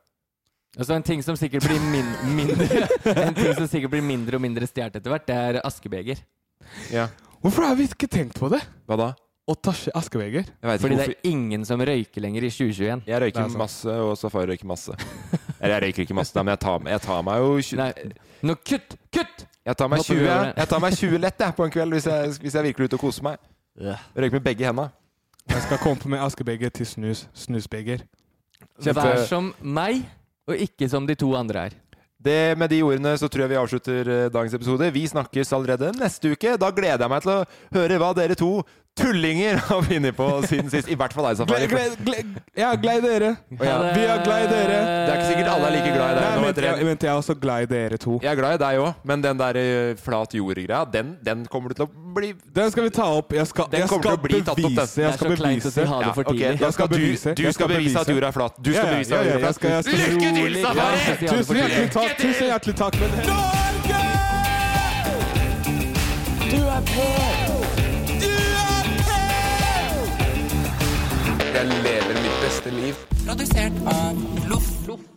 Altså En ting som sikkert blir min mindre En ting som sikkert blir mindre og mindre stjålet etter hvert, det er askebeger.
Hvorfor har vi ikke tenkt på det?
Hva da?
Å tasje askebeger?
Fordi det er ingen som røyker lenger i 2021.
Jeg
Det er
røyker
sant.
masse, og Safari røyker masse. Eller jeg røyker ikke masse, da, men jeg tar, jeg tar meg jo 20
Nå kutt! Kutt!
Jeg tar meg
Hopper vi
20,
over det?
jeg tar meg 20 lett jeg, på en kveld hvis jeg, hvis jeg virkelig er ute og koser meg. Røyker med begge henda.
Jeg skal komme med askebeger til snus. Snusbeger.
Vær som meg, og ikke som de to andre her.
Det, med de ordene så tror jeg vi avslutter eh, dagens episode. Vi snakkes allerede neste uke. Da gleder jeg meg til å høre hva dere to tullinger har funnet på siden sist. I hvert fall deg, Safari.
Gled- Jeg er glad i dere.
Og jeg-
Vi er glad i dere.
Det er ikke sikkert alle er like glad i deg
Nei,
nå.
men
etter det.
jeg, vent, jeg er også glad i dere to.
Jeg er glad i deg òg, men den der eh, flat jord-greia, den, den kommer du til å bli
Den skal vi ta opp. Jeg skal,
Den
jeg
kommer
skal
til å bli tatt opp, den.
bevise. Jeg skal bevise.
Ja, ok, Da
Jeg
skal du, du
Jeg
skal bevise at jorda er flat. Du skal
Ja, ja,
bevise
ja,
at
ja,
jorda er
jeg skal- jeg
flat.
skal-
Lykke til,
Ja,
Safari!
Tusen hjertelig takk. Tusen hjertelig takk. Men
Du er på! Du er på!
Jeg lever mitt beste liv.
Produsert av Loff.